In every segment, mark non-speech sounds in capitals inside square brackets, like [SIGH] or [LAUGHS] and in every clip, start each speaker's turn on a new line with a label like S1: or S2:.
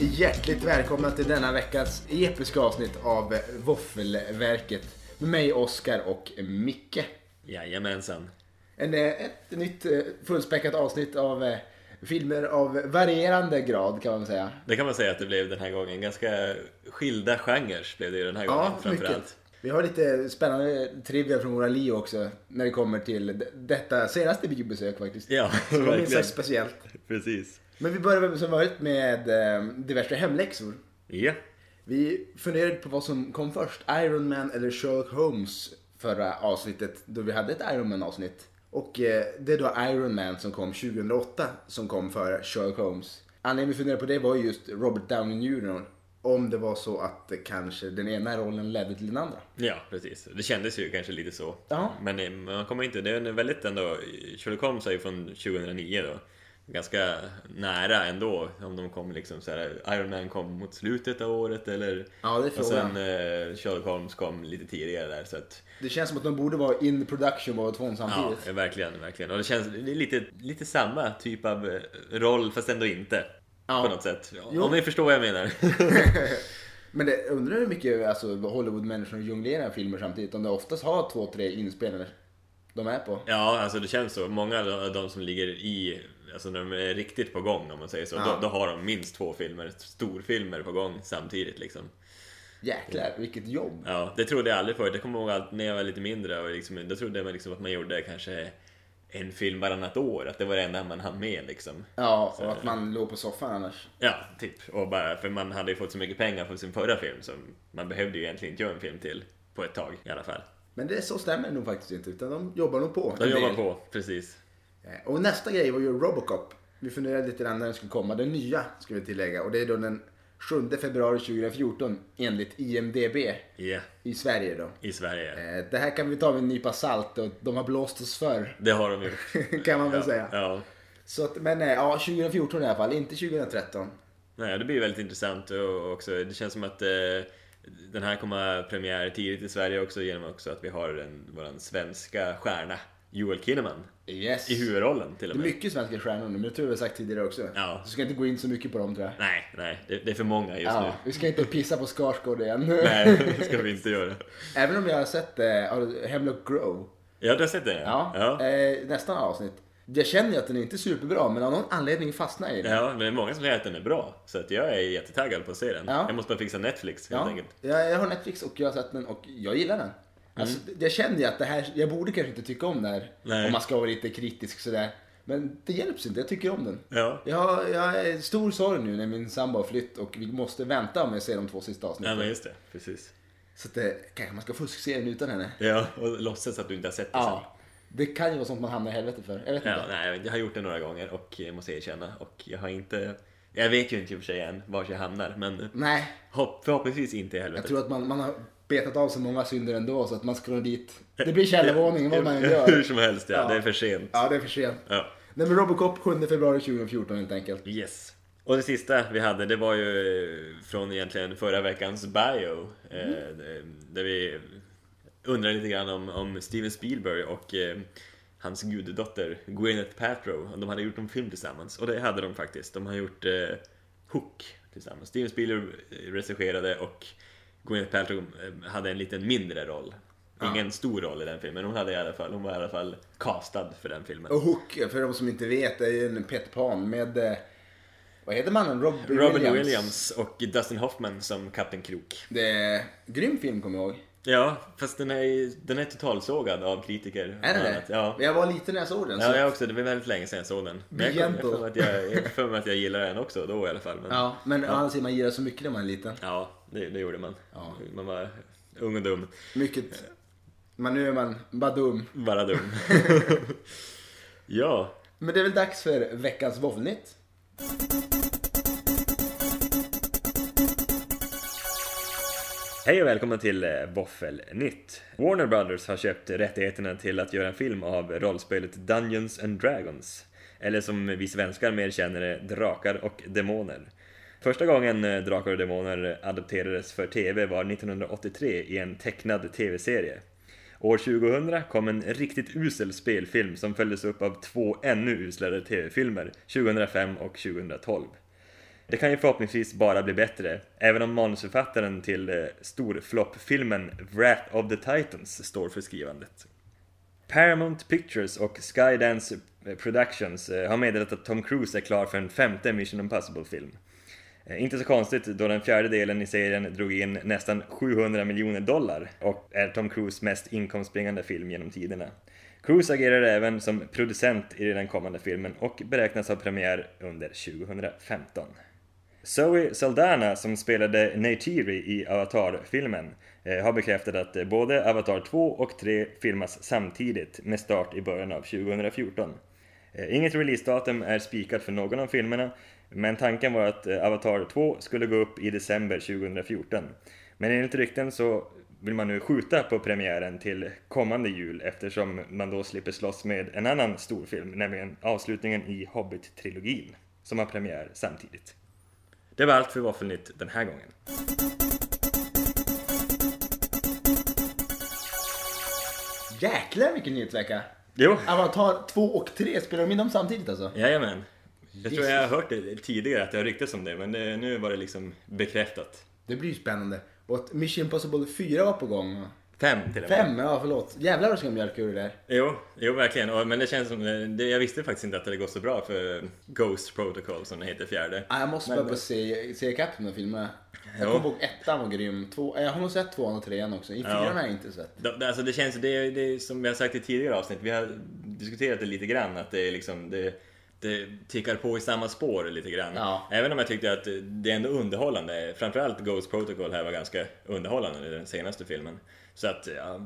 S1: Hjärtligt välkomna till denna veckas episka avsnitt av Våffelverket. Med mig Oskar och Micke.
S2: Jajamensan.
S1: En, eh, ett nytt eh, fullspäckat avsnitt av eh, filmer av varierande grad kan man säga.
S2: Det kan man säga att det blev den här gången. Ganska skilda genrer blev det ju den här gången framförallt.
S1: Vi har lite spännande trivia från våra liv också när det kommer till d- detta senaste biobesök faktiskt.
S2: Ja,
S1: [LAUGHS] det var minst
S2: verkligen.
S1: sagt speciellt.
S2: Precis.
S1: Men vi börjar väl som vanligt med eh, diverse hemläxor.
S2: Ja.
S1: Vi funderade på vad som kom först, Iron Man eller Sherlock Holmes förra avsnittet då vi hade ett Iron Man avsnitt. Och eh, det är då Iron Man som kom 2008 som kom före Sherlock Holmes. Anledningen vi funderade på det var ju just Robert Downey Jr. Om det var så att eh, kanske den ena rollen ledde till den andra.
S2: Ja, precis. Det kändes ju kanske lite så.
S1: Ja.
S2: Men eh, man kommer inte... Det är en väldigt ändå... Sherlock Holmes är ju från 2009 då. Ganska nära ändå om de kom liksom så här, Iron Man kom mot slutet av året eller...
S1: Ja, det är
S2: och
S1: frågan.
S2: sen eh, Sherlock Holmes kom lite tidigare där så att...
S1: Det känns som att de borde vara in production båda två
S2: Ja,
S1: samtidigt.
S2: verkligen, verkligen. Och det känns det är lite, lite samma typ av eh, roll fast ändå inte.
S1: Ja.
S2: På något sätt.
S1: Jo.
S2: Om ni förstår vad jag menar. [LAUGHS]
S1: [LAUGHS] Men det, undrar hur mycket alltså, Hollywood-människor jonglerar filmer samtidigt. Om de oftast har två, tre inspelningar de är på.
S2: ja, alltså det känns så. Många av de som ligger i, alltså när de är riktigt på gång om man säger så,
S1: Ja.
S2: då, då har de minst två filmer, storfilmer på gång samtidigt liksom.
S1: Jäklar, vilket jobb.
S2: Ja, det trodde jag aldrig förut. Jag kommer ihåg att när jag var lite mindre, och liksom, då trodde man liksom att man gjorde kanske en film varannat år, att det var det enda man hann med liksom.
S1: Ja, och att man låg på soffan annars.
S2: Ja, typ. Och bara, för man hade ju fått så mycket pengar för sin förra film så man behövde ju egentligen inte göra en film till på ett tag i alla fall.
S1: Men det så stämmer det nog faktiskt inte, utan de jobbar nog på.
S2: De
S1: en
S2: jobbar
S1: del.
S2: på, precis.
S1: Eh, Och nästa grej var ju Robocop. Vi funderade lite grann när den skulle komma. Den nya, ska vi tillägga. Och det är då den 7 februari 2014, enligt IMDB.
S2: Ja,
S1: I Sverige då.
S2: i Sverige.
S1: Eh, Det här kan vi ta med en nypa salt och de har blåst oss förr.
S2: Det har de
S1: [LAUGHS]
S2: gjort.
S1: Kan man väl
S2: Ja,
S1: säga.
S2: ja.
S1: Så att, men eh, ja, 2014 i alla fall, inte 2013.
S2: Nej, det blir väldigt intressant och också, det känns som att eh, den här kommer ha premiär tidigt i Sverige också genom också att vi har en, vår svenska stjärna Joel Kinnaman
S1: Yes.
S2: i huvudrollen till
S1: Det
S2: och
S1: är
S2: med.
S1: mycket svenska stjärnor nu, men det tror jag vi har sagt tidigare också.
S2: Ja.
S1: Så ska jag inte gå in så mycket på dem tror jag.
S2: Nej, nej, det, det är för många just
S1: Ja,
S2: nu.
S1: vi ska inte pissa på Skarsgård igen.
S2: Nej, det ska vi inte göra.
S1: Även om jag har sett eh, har du- Hemlock Grove,
S2: Ja, du har sett den
S1: ja, Eh, nästan avsnitt. Jag känner ju att den är inte superbra, men av någon anledning fastnar jag i den.
S2: Ja, men det är många som säger att den är bra. Så att jag är jättetaggad på att se den.
S1: Ja.
S2: Jag måste bara fixa Netflix helt
S1: Ja,
S2: enkelt. Mm.
S1: jag, jag har Netflix och jag har sett den och jag gillar den. Alltså, jag känner ju att det här, jag borde kanske inte tycka om det här.
S2: Nej.
S1: Om man ska vara lite kritisk sådär. Men det hjälps inte, jag tycker om den.
S2: Ja.
S1: Jag har, jag har stor sorg nu när min sambo har flytt och vi måste vänta om jag ser de två sista
S2: ja,
S1: avsnitten.
S2: men just det. Precis.
S1: Så att, eh, kanske man ska fuskse den utan henne.
S2: Ja, och låtsas att du inte har sett det sen.
S1: Ja. Det kan ju vara sånt man hamnar i helvete för. Jag vet
S2: Ja,
S1: inte.
S2: nej, jag vet inte. jag har gjort det några gånger och jag måste erkänna. Och jag har inte... Jag vet ju inte i och för sig än var jag hamnar, men
S1: Nej,
S2: hopp, förhoppningsvis inte i
S1: Mm. Jag
S2: helvetet.
S1: tror att man, man har betat av så många synder ändå så att man scrollar dit. Det blir källarvåningen vad
S2: [LAUGHS]
S1: man än
S2: Hur
S1: gör.
S2: som helst, ja.
S1: [LAUGHS] Ja.
S2: Det är för sent.
S1: Ja, det är för sent.
S2: Ja.
S1: Nej men Robocop 7 februari 2014 helt enkelt.
S2: Yes. Och det sista vi hade, det var ju från egentligen förra veckans bio. Eh, där vi undrade lite grann om, om Steven Spielberg och eh, hans guddotter Gwyneth Paltrow. Och De hade gjort en film tillsammans, och det hade de faktiskt. De har gjort eh, Hook tillsammans. Steven Spielberg regisserade och Gwyneth Paltrow eh, hade en liten mindre roll. Ingen stor roll i den filmen, hon, hade i alla fall, hon var i alla fall castad för den filmen.
S1: Och Hook, för de som inte vet, är ju en Pet Pan med, eh, vad heter mannen? Rob
S2: Robin Williams. och Dustin Hoffman som Kapten Krok.
S1: Det är grym film kommer jag ihåg.
S2: Ja, fast den är, den är totalsågad av kritiker.
S1: Är det
S2: bland
S1: det? alltså-
S2: annat. Ja.
S1: Men jag var liten när jag såg den. Så.
S2: Ja, jag också. Det var väldigt länge sedan jag såg den. Men jag kom- jag får mig att jag- jag får mig att jag gillar den också då i alla fall. Men, ja,
S1: Ja, men å andra sidan, man gillar så mycket när man är liten.
S2: det, det gjorde man.
S1: Ja.
S2: Man var ung och dum.
S1: Mycket. Men nu är man bara dum. [LAUGHS]
S2: Bara dum. [LAUGHS] ja,
S1: Men det är väl dags för veckans våffelnytt.
S2: Hej och välkomna till eh, Våffelnytt! Warner Brothers har köpt rättigheterna till att göra en film av rollspelet Dungeons and Dragons. Eller som vi svenskar mer känner det, Drakar och Demoner. Första gången eh, Drakar och Demoner adopterades för TV var 1983 i en tecknad TV-serie. År 2000 kom en riktigt usel spelfilm som följdes upp av två ännu uslare TV-filmer, 2005 och 2012. Det kan ju förhoppningsvis bara bli bättre, även om manusförfattaren till eh, storfloppfilmen Wrath of the Titans står för skrivandet. Paramount Pictures och Skydance Productions eh, har meddelat att Tom Cruise är klar för en femte Mission Impossible-film. Eh, Inte så konstigt då den fjärde delen i serien drog in nästan 700 miljoner dollar och är Tom Cruise mest inkomstbringande film genom tiderna. Cruise agerar även som producent i den kommande filmen och beräknas ha premiär under 2015. Zoe Saldana som spelade Neytiri i Avatar-filmen eh, har bekräftat att eh, både Avatar 2 och 3 filmas samtidigt med start i början av 2014. Eh, Inget releasedatum är spikat för någon av filmerna, men tanken var att eh, Avatar 2 skulle gå upp i december 2014. Men enligt rykten så vill man nu skjuta på premiären till kommande jul eftersom man då slipper slåss med en annan storfilm, nämligen avslutningen i Hobbit-trilogin, som har premiär samtidigt. Det var allt för Våffelnytt den här gången.
S1: Jäklar vilken nyhetsvecka!
S2: Jo,
S1: Avatar 2 och 3, spelar de in dem samtidigt alltså?
S2: jajamän. Jag tror
S1: Jesus.
S2: jag har hört det tidigare att det har ryktats om det, men det, nu var det liksom bekräftat.
S1: Det blir ju spännande. Och att Mission Impossible 4 var på gång.
S2: Fem till och med.
S1: 5, ja förlåt. Jävlar vad de ska mjölka ur det där.
S2: Jo, jo verkligen. Och- Men det känns som, eh, det, jag visste faktiskt inte att det går så bra för Ghost Protocol som det heter, fjärde.
S1: Ah, jag måste
S2: Men-
S1: börja på se, se ikapp de här filmerna. Jag
S2: Jo.
S1: kommer ihåg ettan var grym. Två, eh, jag har nog sett tvåan och trean också. I fyran har jag inte sett.
S2: De- de- Alltså det känns, det, är- det är som vi har sagt i tidigare avsnitt, vi har diskuterat det lite grann att det är liksom, det, det tickar på i samma spår lite grann.
S1: Ja.
S2: Även om jag tyckte att det är ändå underhållande, framförallt Ghost Protocol här var ganska underhållande i den senaste filmen. Så att, ja,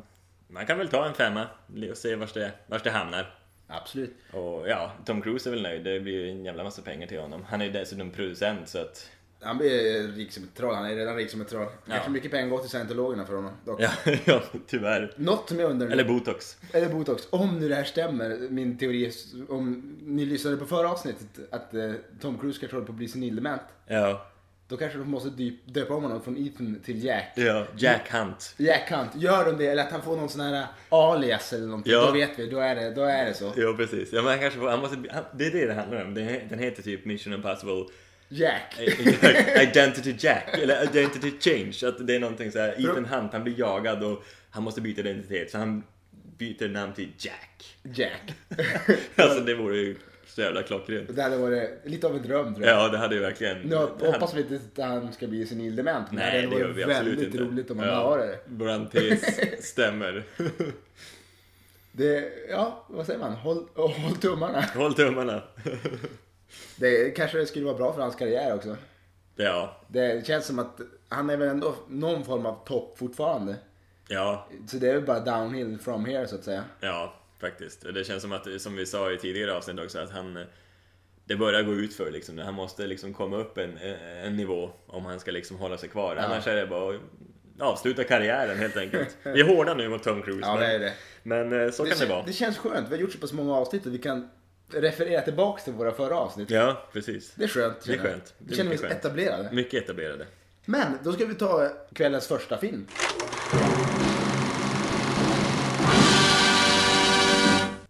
S2: man kan väl ta en femma och se vart det, vars det hamnar.
S1: Absolut.
S2: Och ja, Tom Cruise är väl nöjd, det blir ju en jävla massa pengar till honom. Han är ju dessutom producent så att [LAUGHS]
S1: Han blir eh, rik som ett troll. Han är redan rik som ett troll. Kanske
S2: Ja.
S1: mycket pengar går till scientologerna för honom. Dock.
S2: Ja, ja tyvärr.
S1: Något som jag undrar nu.
S2: Eller botox.
S1: Eller botox. Om nu det här stämmer, min teori, om ni lyssnade på förra avsnittet, att eh, Tom Cruise kanske håller på att bli senildement.
S2: Ja.
S1: Då kanske de måste dyp, döpa om honom från Ethan till Jack.
S2: ja. Jack Hunt.
S1: Jack Hunt. Gör de det, eller att han får någon sån här eh, alias eller någonting,
S2: Ja.
S1: då vet vi. Då är det, då är det så.
S2: Ja, precis. Ja, men han kanske får, han måste, han, det är det det handlar om. Det- Den heter typ Mission Impossible
S1: Jack.
S2: [LAUGHS] Identity Jack, eller Identity Change. Att det är någonting så här, Ethan Hunt, han blir jagad och han måste byta identitet. Så han byter namn till Jack.
S1: Jack. [LAUGHS]
S2: Alltså det vore ju så jävla klockrent.
S1: Det hade varit lite av en dröm tror jag.
S2: Ja, det hade ju verkligen...
S1: Nu
S2: han-
S1: hoppas vi inte att han ska bli senildement, men
S2: Nej,
S1: det
S2: det
S1: hade
S2: gör vi
S1: varit
S2: absolut
S1: väldigt
S2: inte.
S1: roligt om han har det.
S2: Våran tes
S1: [LAUGHS]
S2: stämmer.
S1: det. Ja, vad säger man? Håll, [LAUGHS] håll tummarna.
S2: Håll tummarna.
S1: Det kanske skulle vara bra för hans karriär också.
S2: Ja,
S1: Det känns som att han är väl ändå någon form av topp fortfarande.
S2: ja,
S1: Så det är väl bara downhill from here så att säga.
S2: Ja, faktiskt. Det känns som att, som vi sa i tidigare avsnitt också, att han... Det börjar gå ut för liksom. Han måste liksom komma upp en, en nivå om han ska liksom hålla sig kvar. Annars är det bara att avsluta karriären helt enkelt. Vi är hårda nu mot Tom Cruise,
S1: Ja, det är
S2: men,
S1: det.
S2: men eh, så kan det
S1: kän-
S2: vara.
S1: det känns skönt. Vi har gjort så pass många avsnitt att vi kan referera tillbaka till våra förra avsnitt.
S2: Ja, precis.
S1: Det är skönt.
S2: Det är
S1: känner jag.
S2: skönt. Det är
S1: Vi känner
S2: mycket
S1: oss
S2: skönt.
S1: etablerade.
S2: Mycket etablerade.
S1: Men då ska vi ta kvällens första film.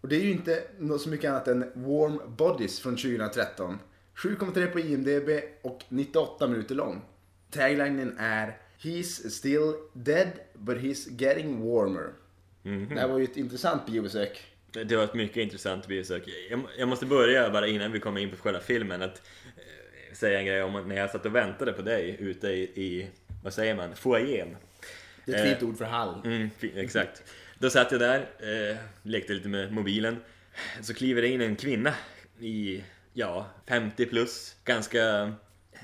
S1: Och det är ju inte något så mycket annat än Warm Bodies från 2013. 7,3 på IMDB och 98 minuter lång. Taglinen är He's still dead but he's getting warmer.
S2: Mhm.
S1: Det här var ju ett intressant biobesök.
S2: Det det var ett mycket intressant besök. Jag, jag måste börja bara innan vi kommer in på själva filmen att eh, säga en grej om när jag satt och väntade på dig ute i, i vad säger man, foajén.
S1: Det är ett fint ord för hall.
S2: Eh, Mm, fi- exakt. Då satt jag där, eh, lekte lite med mobilen. Så kliver det in en kvinna i, ja, 50 plus. Ganska,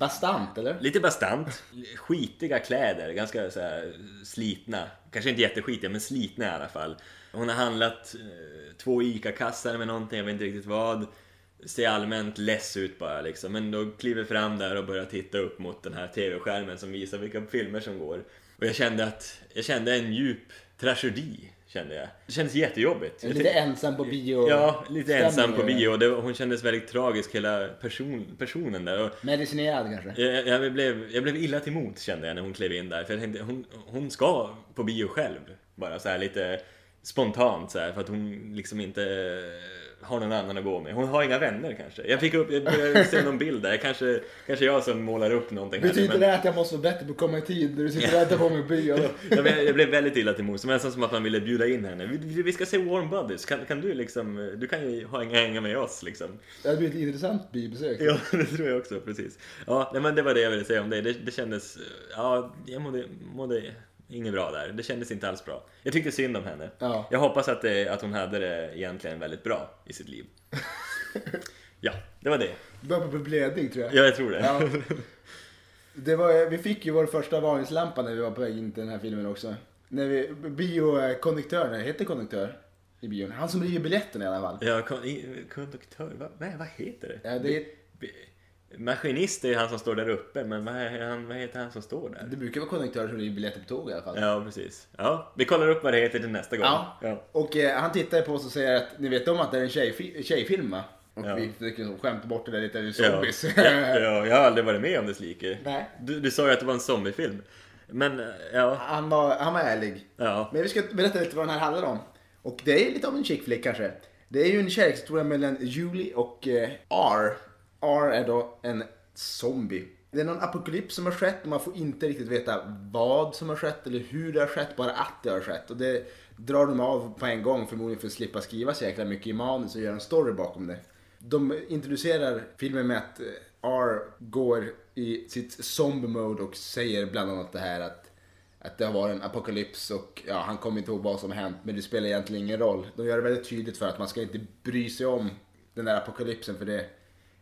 S1: Bastant eller?
S2: lite bastant. Skitiga kläder, ganska så här, slitna. Kanske inte jätteskitiga, men slitna i alla fall. Hon har handlat eh, två ICA-kassar med någonting, jag vet inte riktigt vad. Ser allmänt less ut bara liksom. Men då kliver fram där och börjar titta upp mot den här TV-skärmen som visar vilka filmer som går. Och jag kände att, jag kände en djup tragedi, kände jag. Det kändes jättejobbigt. Jag
S1: Lite
S2: tyck-
S1: ensam på bio.
S2: Ja, lite ensam på
S1: Stämning.
S2: bio. Och det, var- hon kändes väldigt tragisk, hela person, personen där. Och
S1: Medicinerad kanske.
S2: jag, jag, blev, jag blev illa till mots kände jag när hon klev in där. För jag tänkte, hon, hon ska på bio själv. Bara så här lite spontant så här, för att hon liksom inte har någon annan att gå med. Hon har inga vänner kanske. Jag fick upp, jag började se någon bild där. Kanske, kanske jag som målar upp någonting. här nu,
S3: Betyder
S2: men-
S3: det att jag måste vara bättre på att komma i tid när du sitter och väntar på mig i byn?
S2: [LAUGHS] jag, blev, jag blev väldigt illa till mods. Det var nästan som att man ville bjuda in henne. Vi, vi- vi ska se Warm Buddies. Kan, kan du liksom, eh, du kan ju hänga, hänga med oss liksom.
S3: Det hade blivit ett intressant bybesök.
S2: [LAUGHS] Ja, det tror jag också, precis. Ja, nej, men det var det jag ville säga om dig. Det, det kändes, eh, ja, jag mådde, mådde inget bra där. Det kändes inte alls bra. Jag tyckte synd om henne.
S3: Ja.
S2: Jag hoppas att, det, att hon hade det egentligen väldigt bra i
S3: [LAUGHS]
S2: sitt liv. ja, det var det.
S3: Börjar på blädning tror jag.
S2: Ja, jag tror det.
S3: Ja. Det var, vi fick ju vår första varningslampa när vi var på väg in till den här filmen också. När vi, biokonduktören, heter konduktör i bion? Han som river biljetten i alla fall.
S2: [LAUGHS] Ja, kon- i- konduktör, vad, nej, vad heter det?
S3: Ja, det,
S2: B- Maskinist är ju han som står där uppe, men vad, är han, vad heter han som står där?
S3: det brukar vara konduktör som river biljetter på tåg i alla fall.
S2: Ja, precis. Ja, vi kollar upp vad det heter till nästa gång.
S3: Ja. Och eh, han tittar på oss och säger att ni vet om att det är en tjejfi- tjejfilm va? Och
S2: Ja.
S3: vi försöker liksom skämta bort det där lite, det är
S2: Ja.
S3: zombies.
S2: Ja, ja, jag har aldrig varit med om det slike.
S3: Nej.
S2: Du, du sa ju att det var en zombiefilm. Men, eh, ja.
S3: [LAUGHS] Han, var, han var ärlig.
S2: Ja.
S3: Men vi ska berätta lite vad den här handlar om.
S1: Och det är lite av en chick flick kanske. Det är ju en kärlekshistoria mellan Julie och eh, R. R är då en zombie. Det är någon apokalyps som har skett och man får inte riktigt veta vad som har skett eller hur det har skett, bara att det har skett. Och det drar de av på en gång förmodligen för att slippa skriva så jäkla mycket i manus och göra en story bakom det. De introducerar filmen med att eh, R går i sitt zombie-mode och säger bland annat det här att att det har varit en apokalyps och ja, han kommer inte ihåg vad som har hänt men det spelar egentligen ingen roll. De gör det väldigt tydligt för att man ska inte bry sig om den där apokalypsen för det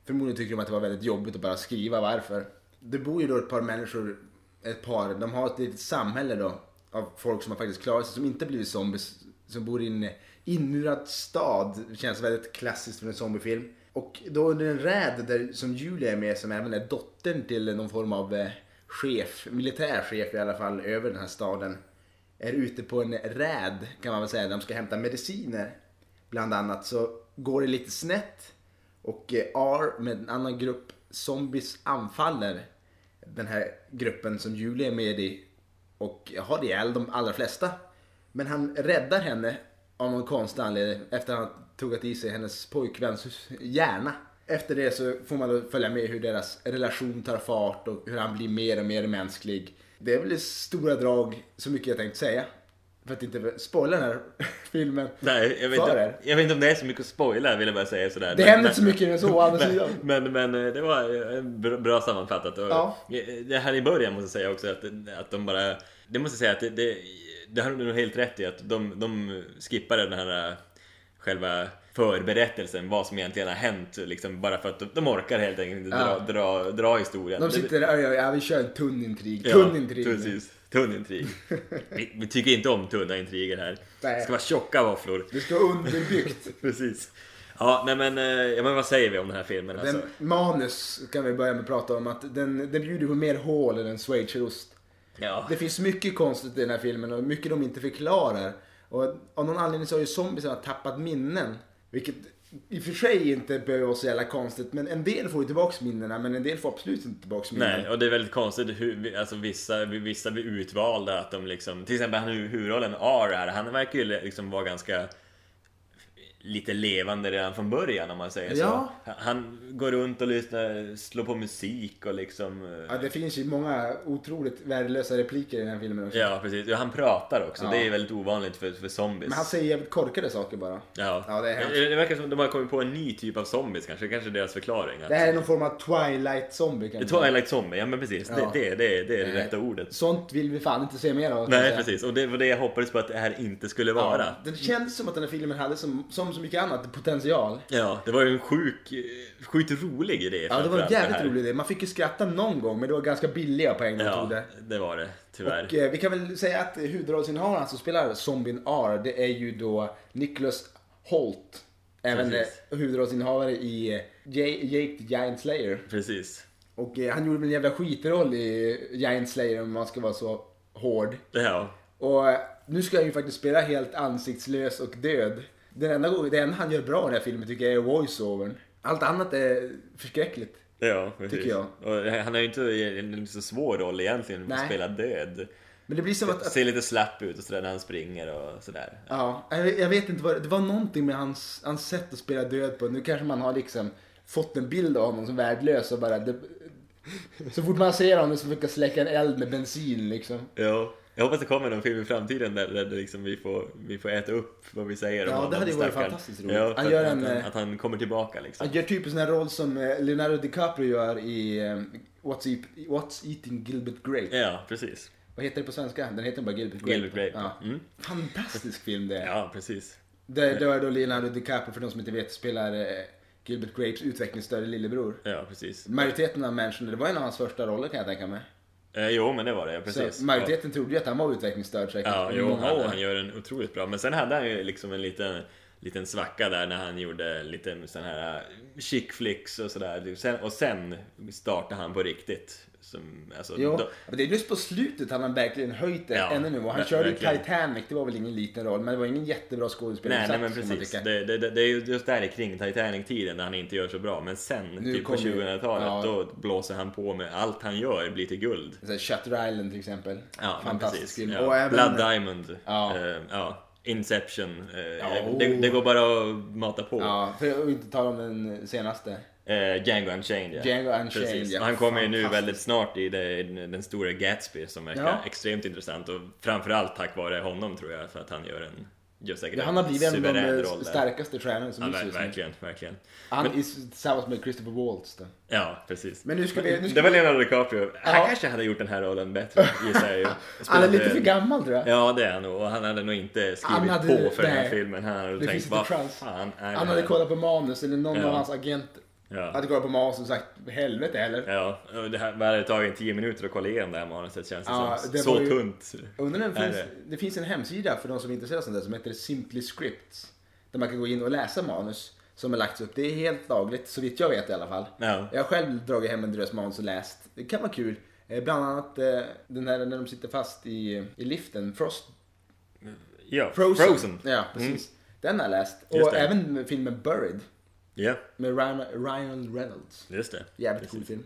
S1: förmodligen tycker de att det var väldigt jobbigt att bara skriva varför. Det bor ju då ett par människor, ett par, de har ett litet samhälle då av folk som har faktiskt klarat sig, som inte blivit zombies, som bor i en inmurad stad. Det känns väldigt klassiskt för en zombiefilm. Och då under en räd där, som Julia är med, som även är dottern till någon form av eh, chef, militärchef i alla fall, över den här staden. Är ute på en räd kan man väl säga, de ska hämta mediciner. Bland annat så går det lite snett och eh, R med en annan grupp zombies anfaller den här gruppen som Julia är med i och har ihjäl de allra flesta. Men han räddar henne av någon konstig anledning efter att han tuggat i sig hennes pojkväns hjärna. Efter det så får man då följa med hur deras relation tar fart och hur han blir mer och mer mänsklig. Det är väl i stora drag så mycket jag tänkt säga. För att inte spoila den här [LAUGHS] filmen.
S2: Nej, jag vet,
S1: för
S2: inte,
S1: er.
S2: jag vet inte om det är så mycket att spoila, vill jag bara säga sådär.
S3: Det
S2: Men-
S3: händer inte så mycket än så å andra sidan.
S2: men, men, men eh, det var eh, bra- bra sammanfattat. Och
S3: Ja.
S2: eh, Det här i början måste jag säga också att, att de bara... Det måste jag säga att det, det, det har du nog helt rätt i att de, de skippade den här eh, själva förberättelsen, vad som egentligen har hänt liksom, bara för att de, de orkar helt enkelt inte dra, dra, dra historien.
S1: De
S2: Det-
S1: sitter där och ja, vi kör en tunn intrig.
S2: Ja,
S1: tunn intrig.
S2: Precis. Tunn
S1: [LAUGHS]
S2: intrig. Vi, vi tycker inte om tunna intriger här. Det
S1: Nej.
S2: ska vara tjocka våfflor.
S1: Det ska vara underbyggt.
S2: Precis. Ja, nej men, eh, ja, men vad säger vi om den här filmen alltså?
S1: Den manus kan vi börja med att prata om att den, den bjuder på mer hål än en schweizerost.
S2: Ja.
S1: Det finns mycket konstigt i den här filmen och mycket de inte förklarar. Och av någon anledning så har ju zombiesarna tappat minnen. Vilket i och för sig inte behöver vara så jävla konstigt. Men en del får ju tillbaks minnena men en del får absolut inte tillbaks minnen.
S2: Nej, och det är väldigt konstigt hur vi- alltså, vissa, vissa blir utvalda att de liksom, till exempel han i huvudrollen R här, han verkar ju liksom vara ganska lite levande redan från början om man säger
S1: Ja.
S2: så. Han går runt och lyssnar, slår på musik och liksom... eh,
S1: Ja, det finns ju många otroligt värdelösa repliker i den här filmen också.
S2: Ja, precis. Ja, han pratar också.
S1: Ja.
S2: Det är väldigt ovanligt för, för zombies.
S1: Men han säger jävligt korkade saker bara.
S2: Ja.
S1: Ja, det är hemskt.
S2: det, det verkar som att de har kommit på en ny typ av zombies kanske. Kanske deras förklaring. Att...
S1: Det här är någon form av Twilight Zombie kan man säga.
S2: Twilight zombie, ja men precis.
S1: Ja.
S2: Det, det, det, det är det
S1: Nej.
S2: rätta ordet.
S1: Sånt vill vi fan inte se mer av. kan jag
S2: Nej,
S1: säga.
S2: precis. Och det var det jag hoppades på att det här inte skulle vara.
S1: Ja, det kändes som att den här filmen hade, som, som så mycket annat, potential.
S2: Ja, det var ju en sjuk, eh, sjukt rolig idé.
S1: Ja, det var en
S2: framförallt,
S1: jävligt
S2: här.
S1: rolig idé. Man fick ju skratta någon gång, men det var ganska billiga poäng de
S2: Ja,
S1: tog det.
S2: det var det. Tyvärr.
S1: Och, eh, vi kan väl säga att huvudrollsinnehavaren som spelar zombien R, det är ju då Nicholas Holt. Även eh,
S2: Precis.
S1: huvudrollsinnehavare i eh, J- Jake the Giant Slayer.
S2: Precis.
S1: Och eh, han gjorde väl en jävla skitroll i Giant Slayer om man ska vara så hård.
S2: Ja.
S1: Och eh, nu ska han ju faktiskt spela helt ansiktslös och död. Den enda, gången- det enda han gör bra i den här filmen tycker jag är voice-overn. Allt annat är förskräckligt.
S2: Ja, precis.
S1: Tycker jag.
S2: Och han har ju inte en en så svår roll egentligen, att
S1: Nej.
S2: spela död.
S1: Men det blir som att... att
S2: Ser lite slapp ut och sådär när han springer och sådär.
S1: ja, jag, jag vet inte vad det- det var någonting med hans, hans sätt att spela död på. Nu kanske man har liksom fått en bild av honom som värdelös och bara... Det, så fort man ser honom så brukar släcka en eld med bensin liksom.
S2: Ja. Jag hoppas det kommer någon film i framtiden där, där det liksom vi, får, vi får äta upp vad vi säger
S1: Ja,
S2: om
S1: det
S2: honom,
S1: hade ju varit
S2: stackarn.
S1: fantastiskt roligt.
S2: Ja,
S1: Han
S2: att,
S1: gör
S2: att,
S1: en,
S2: han,
S1: eh,
S2: att han kommer tillbaka liksom.
S1: Han gör typ en sån här roll som eh, Leonardo DiCaprio gör i eh, What's, Eat, What's Eating Gilbert Grape.
S2: Ja, precis.
S1: Vad heter det på svenska? Den heter bara Gilbert Grape.
S2: Gilbert Grape.
S1: Ja.
S2: Mm.
S1: Fantastisk film det är.
S2: Ja, precis.
S1: Det, det var då Leonardo DiCaprio, för de som inte vet, spelar eh, Gilbert Grapes utvecklingsstörda lillebror.
S2: Ja, precis.
S1: Majoriteten av människorna, det var en av hans första roller kan jag tänka mig.
S2: Eh, jo, men det var det. Ja,
S1: Så Mm,
S2: precis.
S1: majoriteten trodde ju att han var utvecklingsstörd säkert
S2: Ja,
S1: i
S2: jo,
S1: många
S2: han,
S1: år.
S2: han gör en otroligt bra. Men sen hade han ju liksom en liten, liten svacka där när han gjorde lite sån här chick flicks och sådär. Sen- Och sen startade han på riktigt. Som, alltså,
S1: Jo,
S2: då-
S1: men det är just på slutet han har verkligen höjt det
S2: Ja,
S1: ännu nu. Och han
S2: ver-
S1: körde ju
S2: verkligen.
S1: Titanic, det var väl ingen liten roll, men det var ingen jättebra
S2: nej,
S1: skådespelarinsats
S2: nej, men
S1: kan man
S2: precis.
S1: tycka.
S2: Det, det, det, det är ju just där i kring Titanic-tiden när han inte gör så bra. Men sen,
S1: Nu
S2: typ på
S1: kommer ju-
S2: 2000-talet,
S1: ja.
S2: då blåser han på med allt han gör blir till guld.
S1: Så här, Shutter Island till exempel.
S2: Ja, men
S1: Fantastisk
S2: precis.
S1: film.
S2: Ja.
S1: Och även,
S2: Blood Diamond.
S1: Ja.
S2: Eh, ja. Inception. Eh,
S1: Ja,
S2: det,
S1: oh.
S2: det går bara att mata på.
S1: Ja, för att inte tala om den senaste.
S2: Eh, Django Unchained ja.
S1: Django Unchained,
S2: Precis.
S1: ja.
S2: Och Han kommer ju nu
S1: Fantastiskt.
S2: väldigt snart i det, i den stora Gatsby som verkar
S1: Ja.
S2: extremt intressant och framförallt tack vare honom tror jag för att han gör en just säkert
S1: Han har blivit en av
S2: suverän
S1: de
S2: roll där.
S1: starkaste stjärnorna
S2: Ja,
S1: som
S2: ver-
S1: finns just nu.
S2: verkligen, verkligen.
S1: Han är tillsammans med Christopher Waltz då.
S2: Ja, precis.
S1: Men nu ska vi... Nu ska
S2: Det var Leonardo DiCaprio. Han
S1: Ja.
S2: kanske hade gjort den här rollen bättre gissar jag ju.
S1: [LAUGHS] Han är lite för
S2: Spelade-
S1: gammal tror jag.
S2: Ja det är han nog och han hade nog inte
S1: Han
S2: skrivit
S1: hade-
S2: på för den här
S1: nej.
S2: filmen. Han hade
S1: Det
S2: tänkt
S1: finns inte
S2: vad
S1: chans."
S2: fan är det
S1: Han hade
S2: här?"
S1: kollat på manus eller någon
S2: Ja.
S1: av hans agenter.
S2: Ja.
S1: Hade kollat på manus och sagt helvete heller.
S2: Ja, och det här det hade tagit 10 minuter att kolla igenom det här manuset känns det
S1: Ja,
S2: som.
S1: det
S2: så
S1: var ju-
S2: tunt.
S1: Undrar om det
S2: Nej,
S1: finns, det finns en hemsida för de som är intresserade av sånt där som heter Simply Scripts. Där man kan gå in och läsa manus som har lagts upp. Det är helt lagligt, så vitt jag vet i alla fall.
S2: Ja.
S1: Jag har själv dragit hem en drös manus och läst. Det kan vara kul. Eh, Bland annat eh, den här när de sitter fast i, i liften, Frost
S2: Ja,
S1: Frozen.
S2: Frozen. Mm.
S1: Ja, precis. Den har jag läst.
S2: Just
S1: Och
S2: det.
S1: även med filmen Buried
S2: Ja,
S1: med Ryan, Ryan Reynolds.
S2: just det.
S1: Jävligt cool film.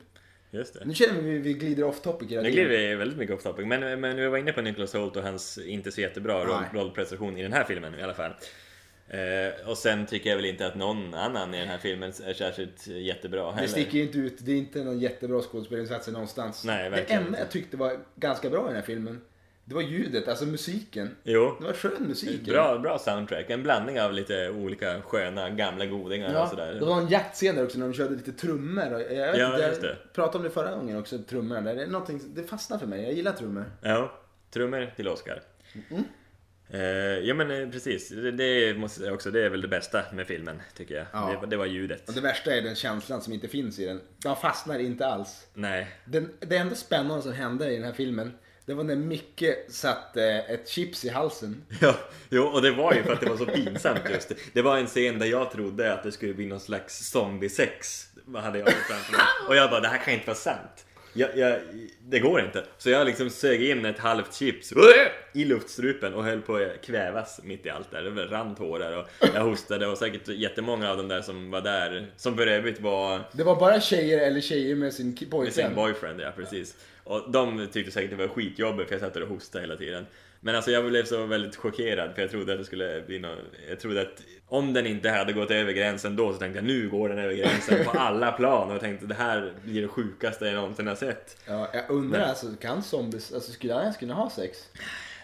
S2: Just det.
S1: Nu känner vi att vi glider off topic hela
S2: Nu
S1: tiden.
S2: glider vi väldigt mycket off topic, men, men vi var inne på Nicholas Holt och hans inte så jättebra roll,
S1: Nej.
S2: rollprestation i den här filmen i alla fall. Eh, och sen tycker jag väl inte att någon annan i den här filmen är särskilt jättebra
S1: Det
S2: heller.
S1: sticker ju inte ut. Det är inte någon jättebra skådespelarinsats någonstans.
S2: Nej,
S1: det
S2: verkligen
S1: enda jag tyckte var ganska bra i den här filmen, det var ljudet, alltså musiken. Det
S2: Jo,
S1: var skön musik.
S2: bra, bra soundtrack. En blandning av lite olika sköna gamla godingar och
S1: Ja,
S2: sådär.
S1: det var en jaktscen där också när de körde lite trummor. och- Jag, vet
S2: Ja,
S1: inte, jag
S2: just det.
S1: pratade om det förra gången också, trummorna. Där. Det, är någonting, det fastnar för mig, jag gillar trummor.
S2: Ja, trummor till Oscar.
S1: Mm.
S2: Eh, ja men eh, precis, det, det, måste jag säga också, det är väl det bästa med filmen tycker jag.
S1: Ja.
S2: Det, det var ljudet.
S1: Och det värsta är den känslan som inte finns i den. De fastnar inte alls.
S2: Nej,
S1: Den, det enda spännande som hände i den här filmen, det var när Micke satte eh, ett chips i halsen.
S2: [LAUGHS] Ja, jo, och det var ju för att det var så pinsamt just. Det var en scen där jag trodde att det skulle bli någon slags zombie-sex. Vad hade jag framför mig. Och jag bara, det här kan inte vara sant. Jag, jag, det går inte. Så jag liksom sög in ett halvt chips i luftstrupen och höll på att kvävas mitt i allt där. Det rann tårar och jag hostade och säkert jättemånga av de där som var där, som för övrigt var
S1: Det var bara tjejer eller tjejer med sin ki-
S2: med sin
S1: pojkvän.
S2: boyfriend, ja precis. Och de tyckte säkert det var skitjobbigt för jag satt där och hostade hela tiden. Men alltså jag blev så väldigt chockerad för jag trodde att det skulle bli någon... Jag trodde att om den inte hade gått över gränsen då så tänkte jag nu går den över
S1: [LAUGHS]
S2: gränsen på alla plan och jag tänkte det här blir det sjukaste jag någonsin har sett.
S1: ja, jag undrar alltså, kan zombies, alltså skulle han ens kunna ha sex?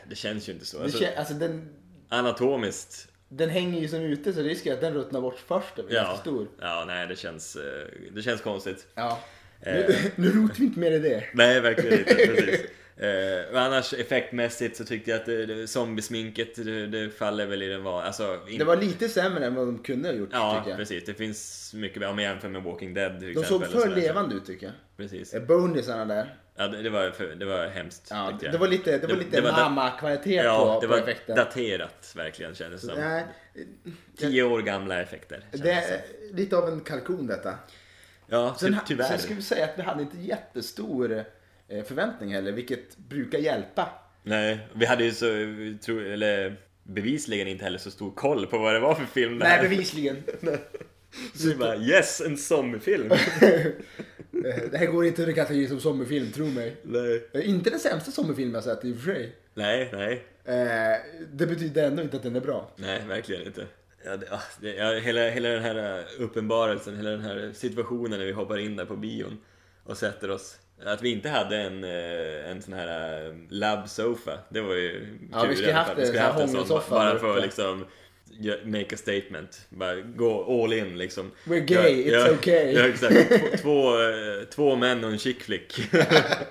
S2: Det känns ju inte så.
S1: Det
S2: Alltså,
S1: kän, alltså den,
S2: anatomiskt.
S1: den hänger ju som ute så risken är att den ruttnar bort först är väl
S2: Ja,
S1: ganska stor.
S2: ja, nej det känns, eh, det känns konstigt.
S1: Ja. Nu, [LAUGHS]
S2: Eh.
S1: nu rotar vi inte mer i det.
S2: Nej,
S1: [LAUGHS]
S2: verkligen inte. Precis. Eh, men annars effektmässigt så tyckte jag att det, det, zombiesminket det, det faller väl i den van... Alltså, inte-
S1: Det var lite sämre än vad de kunde ha gjort
S2: Ja,
S1: tycker jag.
S2: precis. Det finns mycket, om jag jämför med Walking Dead till
S1: De
S2: exempel. alltså,
S1: såg
S2: liksom. och sådär,
S1: för
S2: så-
S1: levande ut tycker jag.
S2: Precis.
S1: Eh, Bonusarna där.
S2: Ja, det, det, var, för, det var hemskt,
S1: Ja,
S2: tyckte jag.
S1: det var lite, det var lite
S2: det var da-
S1: mamma-kvalitet
S2: Ja,
S1: på,
S2: det
S1: på
S2: var
S1: effekten.
S2: daterat verkligen kändes det som.
S1: Nej,
S2: Tio år gamla effekter. kändes
S1: det
S2: som.
S1: är lite av en kalkon detta.
S2: Ja,
S1: Sen,
S2: ty, tyvärr.
S1: sen ska vi säga att vi hade inte jättestor eh, förväntning heller, vilket brukar hjälpa.
S2: Nej, vi hade ju så, vi tro, eller bevisligen inte heller så stor koll på vad det var för film det
S1: Nej,
S2: här.
S1: bevisligen.
S2: Så [LAUGHS] vi bara yes,
S1: [LAUGHS]
S2: en zombiefilm!
S3: Eh, Det här går inte under kategori som zombiefilm, tro mig.
S2: nej.
S3: Eh, Inte den sämsta zombiefilm jag sett i och för sig.
S2: nej, nej,
S3: Eh, det betyder ändå inte att den är bra.
S2: nej, verkligen inte. Ja, det, ah, det, ja, hela, hela den här eh, uppenbarelsen, hela den här situationen när vi hoppar in där på bion och sätter oss. Att vi inte hade en, eh, en sån här eh, labbsofa, det var ju
S3: Ja,
S2: kul
S3: vi skulle
S2: i alla
S3: haft
S2: fall.
S3: en sån här
S2: ba-
S3: hångelsoffa där
S2: Bara för
S3: uppe.
S2: att liksom gö- make a statement, bara gå all in liksom.
S3: We're gay, it's okay.
S2: Ja, exakt. Två- Två, eh, två män och en chick flick.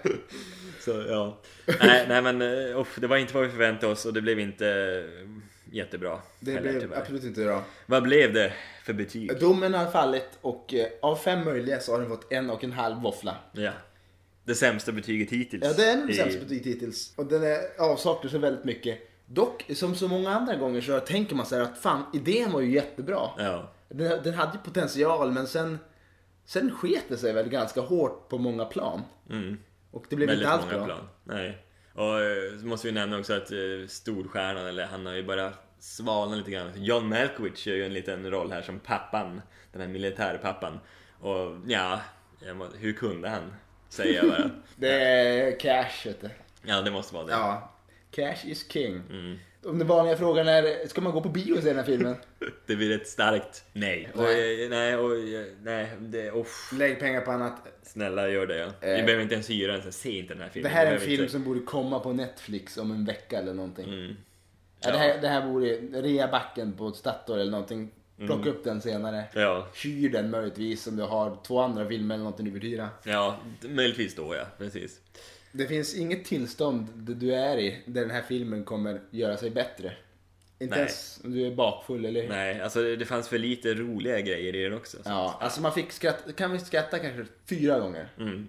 S2: [LAUGHS] Så ja. Nej, nej men eh, uff, det var inte vad vi förväntade oss och det blev inte eh, jättebra.
S1: Det
S2: heller,
S1: blev
S2: tyvärr.
S1: absolut inte bra.
S2: Vad blev det för betyg?
S1: Domen har fallit och eh, av fem möjliga så har den fått en och en halv våffla.
S2: Ja. Det sämsta betyget hittills.
S1: Ja, det är nog det
S2: i-
S1: sämsta betyget hittills. Och den är avsaknar så väldigt mycket. Dock, som så många andra gånger så tänker man så här att fan, idén var ju jättebra.
S2: Ja.
S1: Den, den hade ju potential, men sen, sen sket det sig väl ganska hårt på många plan.
S2: Mm.
S1: Och det blev
S2: Väldigt
S1: inte alls
S2: många
S1: bra.
S2: plan. Nej. Och eh, så måste vi nämna också att eh, storstjärnan, eller han har ju bara svalnat lite grann. John Malkovich gör ju en liten roll här som pappan, den här militärpappan. Och ja, jag må, hur kunde han? Säger jag
S1: [LAUGHS]
S2: bara.
S1: Det är cash, vet du.
S2: Ja, det måste vara det.
S1: Ja. Cash is king.
S2: Mm.
S1: Om den vanliga frågan är, ska man gå på bio och se den här
S2: [LAUGHS]
S1: filmen?
S2: [LAUGHS] Det blir ett starkt nej. Och, eh, nej, och, eh, nej, det, uff.
S1: Lägg pengar på annat.
S2: Snälla gör det ja. Vi
S1: Eh.
S2: behöver inte ens hyra den, så se inte den här
S1: Det
S2: filmen.
S1: här är en
S2: behöver
S1: film
S2: inte-
S1: som borde komma på Netflix om en vecka eller någonting.
S2: typ- Mm.
S1: Ja. Det,
S2: Ja.
S1: här, det här borde reabacken på Statoil eller någonting.
S2: Mm.
S1: Plocka upp den senare.
S2: Ja.
S1: Hyr den möjligtvis om du har två andra filmer eller någonting du vill hyra.
S2: ja, möjligtvis då ja. Precis.
S1: Det finns inget tillstånd där du är i där den här filmen kommer göra sig bättre. Inte
S2: Nej.
S1: ens om du är bakfull eller hur?
S2: Nej, alltså det det fanns för lite roliga grejer i den också. så-
S1: Ja, alltså man fick skratta, kan vi skratta kanske fyra gånger.
S2: Mm,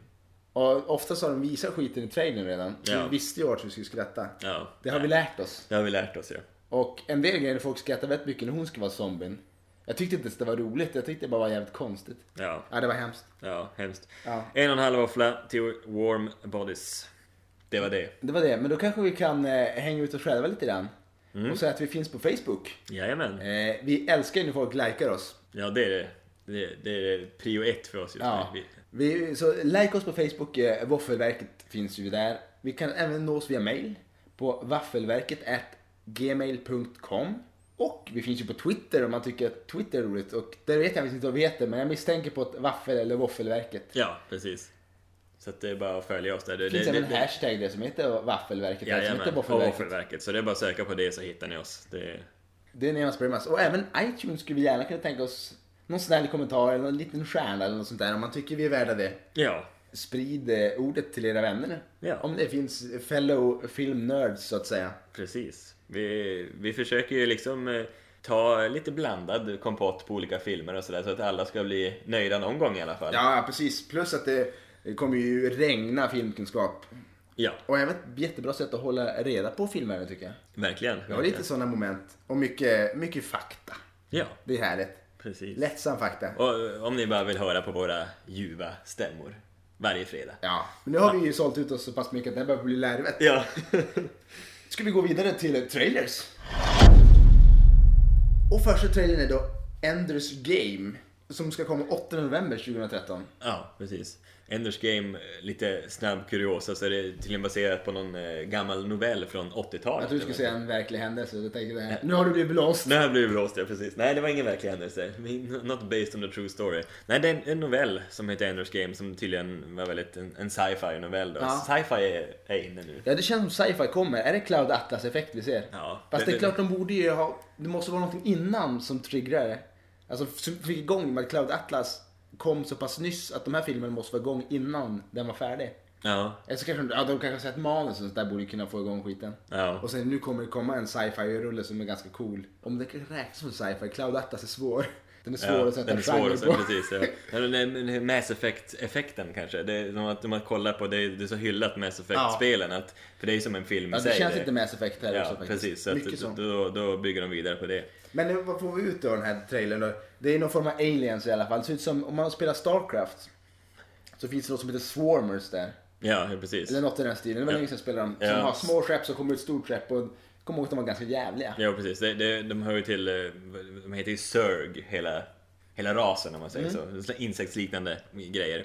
S1: Och ofta så har de visat skiten i trailern redan. Så
S2: Ja.
S1: vi visste ju vart vi skulle skratta.
S2: ja.
S1: Det har vi lärt oss.
S2: Det har vi lärt oss ja.
S1: Och en del grejer folk skrattar väldigt mycket när hon ska vara zombien. Jag tyckte inte ens det var roligt, jag tyckte det bara var jävligt konstigt.
S2: Ja,
S1: Ja, det var hemskt.
S2: ja hemskt.
S1: Ja.
S2: En och en halv våffla till Warm Bodies. Det var det.
S1: Det var det, men då kanske vi kan eh, hänga ut oss själva lite grann. Och säga att vi finns på Facebook.
S2: Jajamän.
S1: Eh, vi älskar ju när folk likar oss.
S2: Ja, det är det. Det, det är prio ett för oss just
S1: Ja.
S2: nu. Vi,
S1: Vi, så like oss på Facebook, eh, Våffelverket finns ju där. Vi kan även nås via mail på waffelverket gmail.com. Och vi finns ju på Twitter om man tycker att Twitter är roligt. Och där vet jag faktiskt inte vad vi heter, men jag misstänker på att Waffel eller Våffelverket.
S2: ja, precis. Så att det är bara att följa oss där. Det,
S1: Det finns
S2: det,
S1: även en
S2: det,
S1: hashtag där som heter Waffelverket, där som heter
S2: Jajamän, och
S1: Våffelverket.
S2: Våffelverket. Så det är bara att söka på det så hittar ni oss. Det,
S1: Det är Nemas Bremas. Och även iTunes skulle vi gärna kunna tänka oss någon snäll kommentar eller en liten stjärna eller något sånt där om man tycker vi är värda det.
S2: ja,
S1: Sprid eh, ordet till era vänner.
S2: Ja.
S1: Om det finns fellow filmnerds så att säga.
S2: Precis. Vi, vi försöker ju liksom eh, ta lite blandad kompott på olika filmer och sådär så att alla ska bli nöjda någon gång i alla fall.
S1: Ja, precis. Plus att det kommer ju regna filmkunskap.
S2: Ja,
S1: Och även ett jättebra sätt att hålla reda på filmer tycker jag.
S2: verkligen.
S1: Vi har lite sådana moment. Och mycket, mycket fakta.
S2: Ja,
S1: Det är härligt.
S2: precis.
S1: Lättsam fakta.
S2: Och eh, om ni bara vill höra på våra ljuva stämmor varje fredag.
S1: Ja. Men nu har vi ju sålt ut oss så pass mycket att det här börjar bli larvet.
S2: Ja.
S1: Ska vi gå vidare till trailers? Och första trailern är då Enders Game. Som ska komma 8 november 2013.
S2: [LAUGHS] ja, precis. Enders Game, eh, lite snabb kuriosa, så är det tydligen baserat på någon eh, gammal novell från 80-talet.
S1: Jag tror du skulle säga en verklig händelse. Jag tänkte det här. Nu har du blivit blåst.
S2: Nu har jag blivit blåst, ja precis. Nej, det var ingen verklig händelse. Not based on a true story. Nej, det är en, en novell som heter Enders Game som tydligen var väldigt en, en sci-fi novell då.
S1: Ja.
S2: Sci-fi är, är inne nu.
S1: Ja, det känns som sci-fi kommer. Är det Cloud Atlas-effekt vi ser?
S2: Ja.
S1: Fast det, är
S2: Det-
S1: klart, de borde ju ha... Det måste vara någonting innan som triggrar det. Alltså, som fick igång med att Cloud Atlas kom så pass nyss att de här filmerna måste vara igång innan den var färdig.
S2: Ja,
S1: Eller så kanske de, ja, de kanske har sett manus och sånt där borde kunna få igång skiten.
S2: Ja.
S1: Och sen nu kommer det komma en sci-fi-rulle som är ganska cool. Om det kan räknas som sci-fi, Cloud Atlas är svår. Den är svår
S2: ja
S1: att sätta
S2: den är svår att
S1: genre
S2: sätta,
S1: på.
S2: precis. Ja. Ja, den är- den är Mass Effect-effekten kanske. Det är som att man kollar på, det är, det är så hyllat Mass Effect-spelen att, för det är ju som en film i
S1: Ja, det
S2: sig.
S1: känns lite Mass Effect här
S2: Ja,
S1: också faktiskt.
S2: precis. Så
S1: Mycket
S2: att,
S1: sånt.
S2: då, då bygger de vidare på det.
S1: Men nu, vad får vi ut då den här trailern då? Det är någon form av aliens i alla fall. Det ser ut som, om man spelar Starcraft. Så finns det något som heter Swarmers där.
S2: Ja, ja, precis.
S1: Eller något i den stilen. Det var
S2: Ja.
S1: länge sedan jag spelade dem. Som
S2: Ja.
S1: har små skepp som kommer ut stort skepp. Och kom ihåg att de var ganska jävliga.
S2: Ja precis, det, det, de hör ju till, eh, de heter ju SURG hela hela rasen om man säger
S1: Mm.
S2: så. så. Insektsliknande grejer.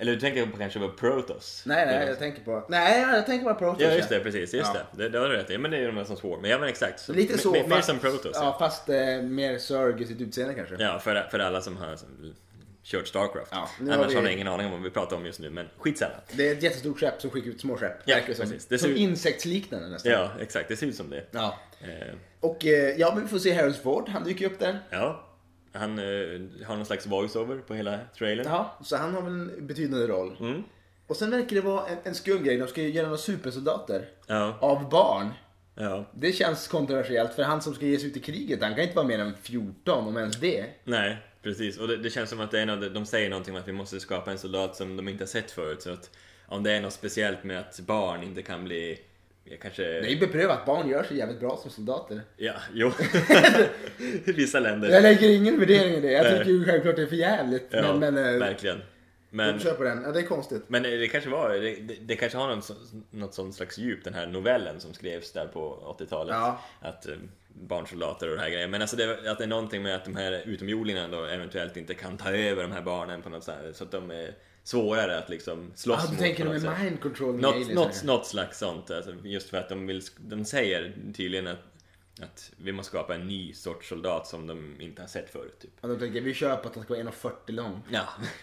S2: Eller du tänker på kanske på Protoss?
S1: Nej,
S2: Det är
S1: nej, jag tänker på... Nej, jag tänker på Protoss.
S2: Ja just det, precis. Just
S1: Ja.
S2: det. det. Det har du rätt i. Men det är ju de där som svår. Men ja men exakt. Så,
S1: Lite så.
S2: mer- Mer
S1: fast-
S2: som Protoss.
S1: Ja,
S2: Ja,
S1: fast eh, mer Zerg i sitt utseende kanske.
S2: ja för, för alla som har som, kört Starcraft.
S1: Ja, nu har
S2: Annars
S1: vi-
S2: har jag ingen aning om vad vi pratar om just nu, men skitsamma.
S1: Det är ett jättestort skepp som skickar ut små skepp.
S2: Ja,
S1: Verkar som,
S2: precis. Det ser
S1: som
S2: ut-
S1: insektsliknande nästan.
S2: Ja, exakt. Det ser ut som det.
S1: Ja.
S2: Eh,
S1: Och eh, ja, men vi får se Harris Ford. Han dyker ju upp där.
S2: ja. Han eh, har någon slags voiceover på hela trailern.
S1: Ja, så han har väl en betydande roll.
S2: Mm.
S1: Och sen verkar det vara en, en skum grej. De ska ju göra några supersoldater.
S2: Ja,
S1: Av barn.
S2: ja.
S1: Det känns kontroversiellt för han som ska ge sig ut i kriget, han kan inte vara mer än 14 om ens det.
S2: Nej, precis. Och det, det känns som att det är något, de säger någonting om att vi måste skapa en soldat som de inte har sett förut. Så att om det är något speciellt med att barn inte kan bli... Kanske...
S1: Det är ju beprövat, barn gör sig jävligt bra som soldater.
S2: Ja,
S1: [LAUGHS]
S2: jo. I vissa länder.
S1: Jag lägger ingen värdering i det. Jag
S2: Nej.
S1: tycker ju självklart det är för jävligt.
S2: Ja,
S1: men men eh,
S2: verkligen.
S1: de
S2: Men,
S1: kör på den. Ja, det är konstigt.
S2: men det kanske var, det, det- det kanske har någon, så- något sånt slags djup, den här novellen som skrevs där på 80-talet.
S1: Ja.
S2: Att eh, barnsoldater och det här grejen. Men alltså det, att det är någonting med att de här utomjordingarna då eventuellt inte kan ta över de här barnen på något sätt. Så att de är svårare att liksom slåss
S1: Ah, du
S2: mot
S1: tänker
S2: på
S1: de
S2: något sätt.
S1: är mind controlling
S2: Något,
S1: aliens,
S2: något,
S1: eller?
S2: något slags sånt. Alltså, just för att de, vill, de säger tydligen att, att vi måste skapa en ny sorts soldat som de inte har sett förut. Typ.
S1: Ja, de tänker vi kör på att han ska vara 1,40 lång.
S2: Ja,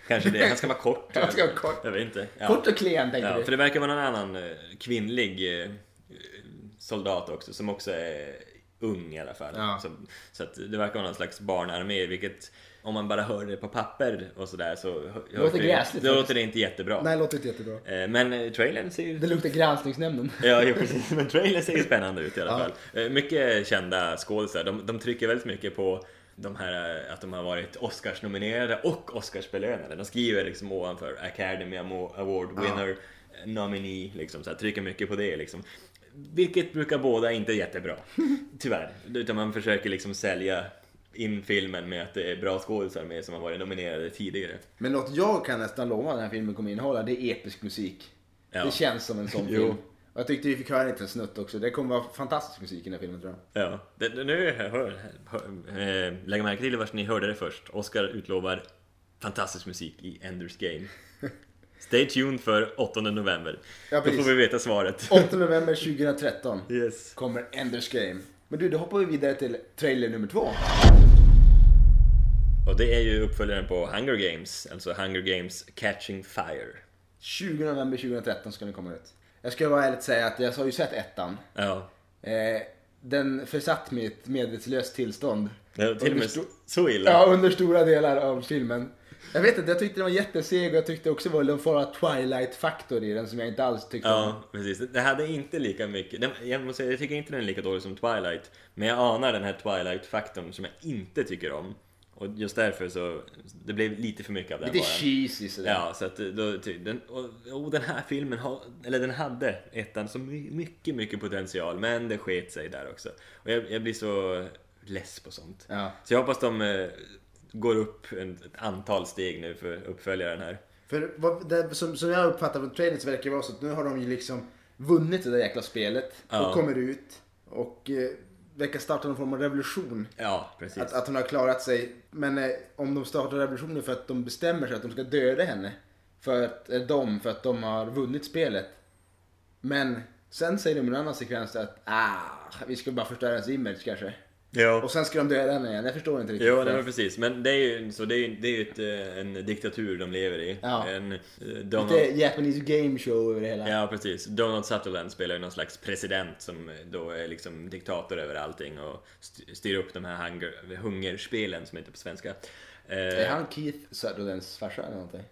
S2: kanske det. Han ska vara kort.
S1: [LAUGHS] Han ska vara kort.
S2: Jag vet inte. Ja.
S1: Kort och klen tänker
S2: ja,
S1: du.
S2: för det verkar vara någon annan eh, kvinnlig eh, soldat också som också är ung i alla fall.
S1: Ja.
S2: Så, så att det verkar vara någon slags barnarmé, vilket om man bara hör det på papper och sådär så det
S1: låter gräsligt
S2: det,
S1: faktiskt.
S2: låter det inte jättebra.
S1: Nej, det låter inte jättebra.
S2: Eh, Men eh, trailern ser ju
S1: Det luktar granskningsnämnden.
S2: Ja, ja precis. Men trailern ser ju spännande ut i alla fall. Eh, Mycket kända skådisar. De, de trycker väldigt mycket på de här, eh, att de har varit Oscars-nominerade och Oscars-belönade. De skriver liksom ovanför Academy Amo- Award winner, eh, nominee, liksom, så här, trycker mycket på det. Liksom. Vilket brukar båda inte jättebra, tyvärr. Utan man försöker liksom sälja in filmen med att det är bra skådisar med som har varit nominerade tidigare.
S1: Men något jag kan nästan lova den här filmen kommer innehålla, det är episk musik.
S2: Ja.
S1: Det känns som en sån
S2: Jo.
S1: film. Och jag tyckte vi fick höra en liten snutt också. Det kommer vara fantastisk musik i den här filmen tror jag.
S2: Ja, det, det, nu hör, hör, eh, lägg märke till vart ni hörde det först. Oscar utlovar fantastisk musik i
S1: [LAUGHS]
S2: Enders Game. Stay tuned för 8 november.
S1: Ja,
S2: Då
S1: precis.
S2: får vi veta svaret.
S1: 8 november 2013
S2: [LAUGHS] Yes.
S1: kommer Enders Game. Men du, då hoppar vi vidare till trailer nummer två.
S2: Och det är ju uppföljaren på Hunger Games, alltså Hunger Games Catching Fire.
S1: 20 november 2013 ska den komma ut. Jag ska vara ärligt säga att jag har ju sett ettan.
S2: Ja.
S1: Eh, den försatt mig i ett medvetslöst tillstånd.
S2: Det var till och med
S1: Understo-
S2: så illa.
S1: Ja, under stora delar av filmen. Jag vet inte, jag tyckte den var jätteseg och jag tyckte också det var någon form av Twilight-faktor i den som jag inte alls tyckte om.
S2: Ja, precis. Det hade inte lika mycket... Den, jag måste säga, jag tycker inte den är lika dålig som Twilight. Men jag anar den här Twilight-faktorn som jag inte tycker om. Och just därför så... Det blev lite för mycket av den
S1: Lite
S2: bara.
S1: cheesy sådär.
S2: Ja, så att eh, då, ty- den, och, och den här filmen, har, eller den hade ettan så my- mycket, mycket potential, men det sket sig där också. Och jag, jag blir så less på sånt.
S1: Ja.
S2: Så jag hoppas de eh, går upp en, ett antal steg nu för uppföljaren här.
S1: För vad, det, som, som jag uppfattar från trailern så verkar det vara så att nu har de ju liksom vunnit det där jäkla spelet
S2: Ja.
S1: och kommer ut och eh, verkar starta någon form av revolution.
S2: Ja, precis.
S1: Att, att hon har klarat sig. Men eh, om de startar revolutionen för att de bestämmer sig att de ska döda henne. För att, eh, de, för att de har vunnit spelet. Men sen säger de i en annan sekvens att ah, vi ska bara förstöra hennes image kanske.
S2: ja.
S1: Och sen ska de döda henne igen. Jag förstår inte riktigt.
S2: Jo, nej, men precis. Men det är ju, så det är, ju- det är ju ett, eh, en diktatur de lever i.
S1: Ja.
S2: En, eh,
S1: Lite
S2: Donald,
S1: Japanese game show över det hela.
S2: ja, precis. Donald Sutherland spelar ju någon slags president som eh, då är liksom diktator över allting och st- styr upp de här hunger, hungerspelen som heter på svenska. Eh,
S1: Är han Keith Sutherlands farsa eller någonting?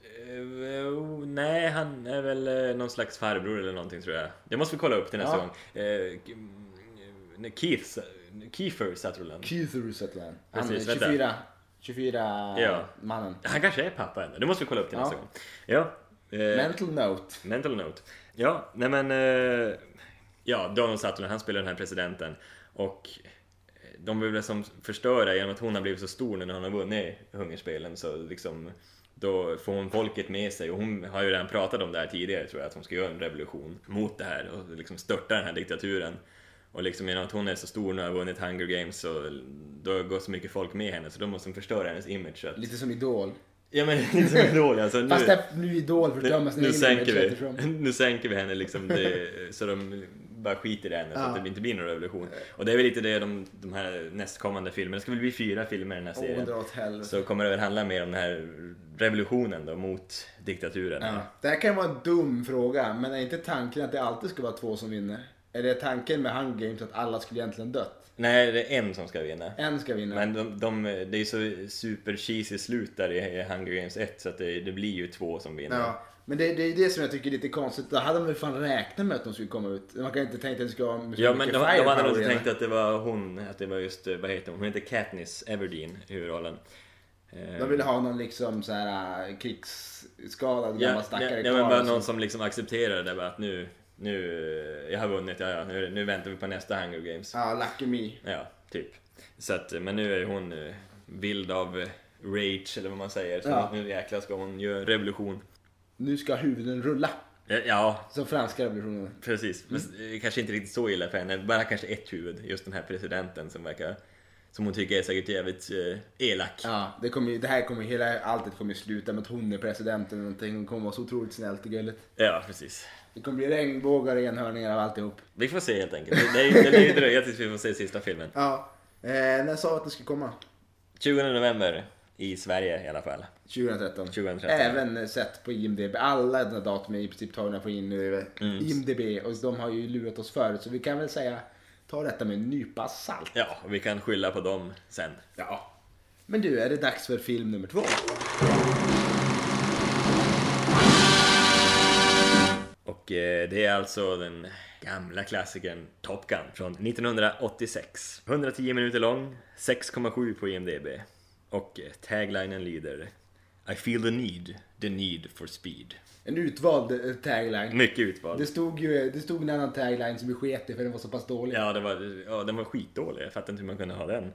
S2: eh, oh, nej, han är väl eh, någon slags farbror eller någonting tror jag. Det måste vi kolla upp till nästa
S1: Ja.
S2: gång. Eh, K- mm, Keith, Su- Kiefer Sutherland.
S1: Keith Sutherland. Han
S2: Precis,
S1: är
S2: vänta.
S1: 24, 24
S2: Ja.
S1: mannen.
S2: Han kanske är pappa ändå. Det måste vi kolla upp till
S1: Ja.
S2: nästa gång. Ja. eh,
S1: Mental note.
S2: Mental note. Ja, nej men... eh, Ja, Donald Sutherland, han spelar den här presidenten. Och eh, de vill väl som förstöra genom att hon har blivit så stor nu när hon har vunnit hungerspelen så liksom då får hon folket med sig och hon har ju redan pratat om det här tidigare tror jag att hon ska göra en revolution mot det här och liksom störta den här diktaturen. Och liksom genom att hon är så stor nu och har vunnit Hunger Games så då går så mycket folk med henne så då måste de förstöra hennes image. Så att,
S3: Lite som Idol.
S2: ja men liksom är dålig alltså. Nu,
S3: Fast där, nu Idol
S2: nu,
S3: fördömer sin
S2: nu,
S3: egen
S2: sänker
S3: image eftersom-
S2: vi, [LAUGHS] nu sänker vi henne liksom det, så de bara skiter i henne så att det inte blir någon revolution. Och det är väl lite det de, de här nästkommande filmerna, det ska väl bli fyra filmer i den här
S3: Åh,
S2: serien.
S3: dra åt helvete.
S2: så kommer det väl handla mer om den här revolutionen då mot diktaturen.
S3: Ja.
S1: Det här kan vara en dum fråga, men är inte tanken att det alltid ska vara två som vinner? Är det tanken med Hunger Games att alla skulle egentligen dött?
S2: Nej, det är en som ska vinna.
S1: En ska vinna.
S2: Men de, de, det är ju så super cheesy slut där i i Hunger Games 1 så att det, det blir ju två som vinner.
S1: Ja, men det, det är ju det som jag tycker är lite konstigt. Då hade man väl fan räknat med att de skulle komma ut. Man kan inte tänka att det ska vara så
S2: Ja
S1: mycket
S2: men de, de
S1: firepower
S2: hade nog
S1: i det.
S2: tänkt att det var hon, att det var just, eh, vad heter hon, hon heter Katniss Everdeen i huvudrollen. Eh,
S1: De ville ha någon liksom så här äh, krigsskadad
S2: ja,
S1: gammal stackare
S2: ja, ja, men
S1: kvar
S2: bara
S1: och så.
S2: någon som liksom accepterar det bara att nu, nu, eh, jag har vunnit, ja, ja, nu, nu väntar vi på nästa Hunger Games.
S1: Ja, Lucky Me.
S2: Ja, typ. Så att, eh, men nu är ju hon eh, vild av eh, rage eller vad man säger. Så
S1: Ja.
S2: nu jäklar ska hon göra en revolution.
S1: Nu ska huvuden rulla.
S2: Ja, Ja,
S1: Som franska revolutionen.
S2: Precis,
S1: Mm.
S2: men eh, kanske inte riktigt så illa för henne. Bara kanske ett huvud, just den här presidenten som verkar som hon tycker är säkert jävligt eh, elak.
S1: Ja, det, kommer, ju- det här kommer hela alltet kommer sluta med att hon är presidenten eller någonting. Hon kommer vara så otroligt snällt och gulligt.
S2: Ja, precis.
S1: Det kommer bli regnbågar och enhörningar av alltihop.
S2: Vi får se helt enkelt. Det, det, är- det lär ju dröja tills vi får se sista filmen.
S1: Ja. Eh, när sa vi att det skulle komma?
S2: 20 november i Sverige i alla fall.
S1: 2013.
S2: 2013.
S1: Även eh, sett på IMDB. Alla de här datumen är i princip tagna på in,
S2: Mm.
S1: IMDB och de har ju lurat oss förut så vi kan väl säga ta detta med en nypa salt.
S2: Ja, och vi kan skylla på dem sen.
S1: Ja. Men du, är det dags för film nummer två?
S2: Och eh, det är alltså den gamla klassikern Top Gun från 1986. 110 minuter lång, 6,7 på IMDB. Och eh, taglinen lyder I feel the need, the need for speed.
S1: En utvald eh, tagline.
S2: Mycket utvald.
S1: Det stod ju det stod en annan tagline som vi sket i för den var så pass dålig.
S2: Ja, det var, ja, den var skitdålig. Jag fattar inte hur man kunde ha den.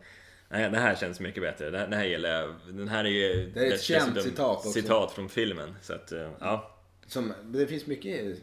S2: Nej, det här känns mycket bättre. Det, det här gillar jag. Den här är ju...
S1: Det är ett
S2: dess-
S1: känt
S2: dessutom
S1: citat också.
S2: Citat från filmen. Så att, eh, ja.
S1: Som, det finns mycket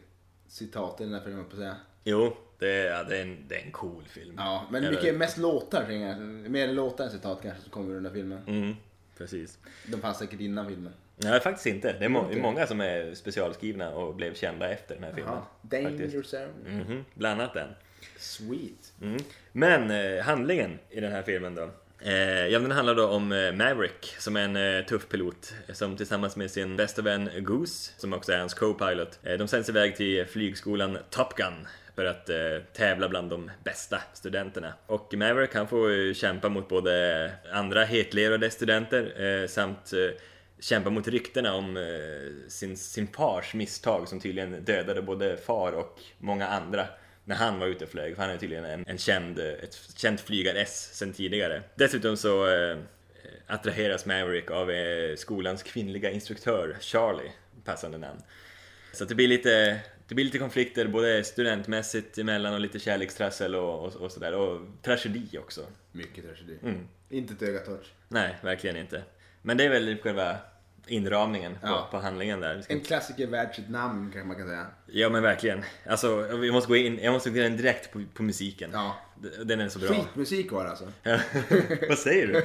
S1: citat i den här filmen, höll jag på att säga.
S2: Jo, det är, ja, det är, en, det är en cool film.
S1: Ja, men
S2: Eller-
S1: mycket, mest låtar. kring den här- Mer låtar än citat kanske som kommer ur den här filmen.
S2: Mm, precis.
S1: De fanns säkert innan filmen.
S2: Nej, faktiskt inte. Det är, må- det är många som är specialskrivna och blev kända efter den här filmen.
S1: Ja. Dame
S2: faktiskt.
S1: yourself.
S2: Mhm, bland annat den.
S1: Sweet.
S2: Mm. Men eh, handlingen i den här filmen då? Eh, ja, den handlar då om eh, Maverick som är en eh, tuff pilot som tillsammans med sin bästa vän Goose, som också är hans co-pilot, eh, de sänds iväg till flygskolan Top Gun för att eh, tävla bland de bästa studenterna. Och Maverick han får ju kämpa mot både andra hetlevrade studenter eh, samt eh, kämpa mot ryktena om eh, sin, sin pars misstag som tydligen dödade både far och många andra när han var ute och flög, för han är tydligen en, en känd, eh, ett f- känt flygar-S sen tidigare. Dessutom så eh, attraheras Maverick av eh, skolans kvinnliga instruktör Charlie, passande namn. Så att det blir lite, det blir lite konflikter både studentmässigt emellan och lite kärlekstrassel och, och, och sådär, och tragedi också.
S1: Mycket tragedi. Mm. Inte ett öga torrt.
S2: Nej, verkligen inte. Men det är väl typ själva inramningen på,
S1: Ja.
S2: på handlingen där. Vi ska
S1: En klassiker värd sitt namn kanske man kan säga.
S2: Ja men verkligen. Alltså, vi måste gå in, jag måste gå in direkt på, på musiken.
S1: Ja.
S2: D- Den är så bra.
S1: Skitmusik var det alltså.
S2: Ja. [LAUGHS] Vad säger du?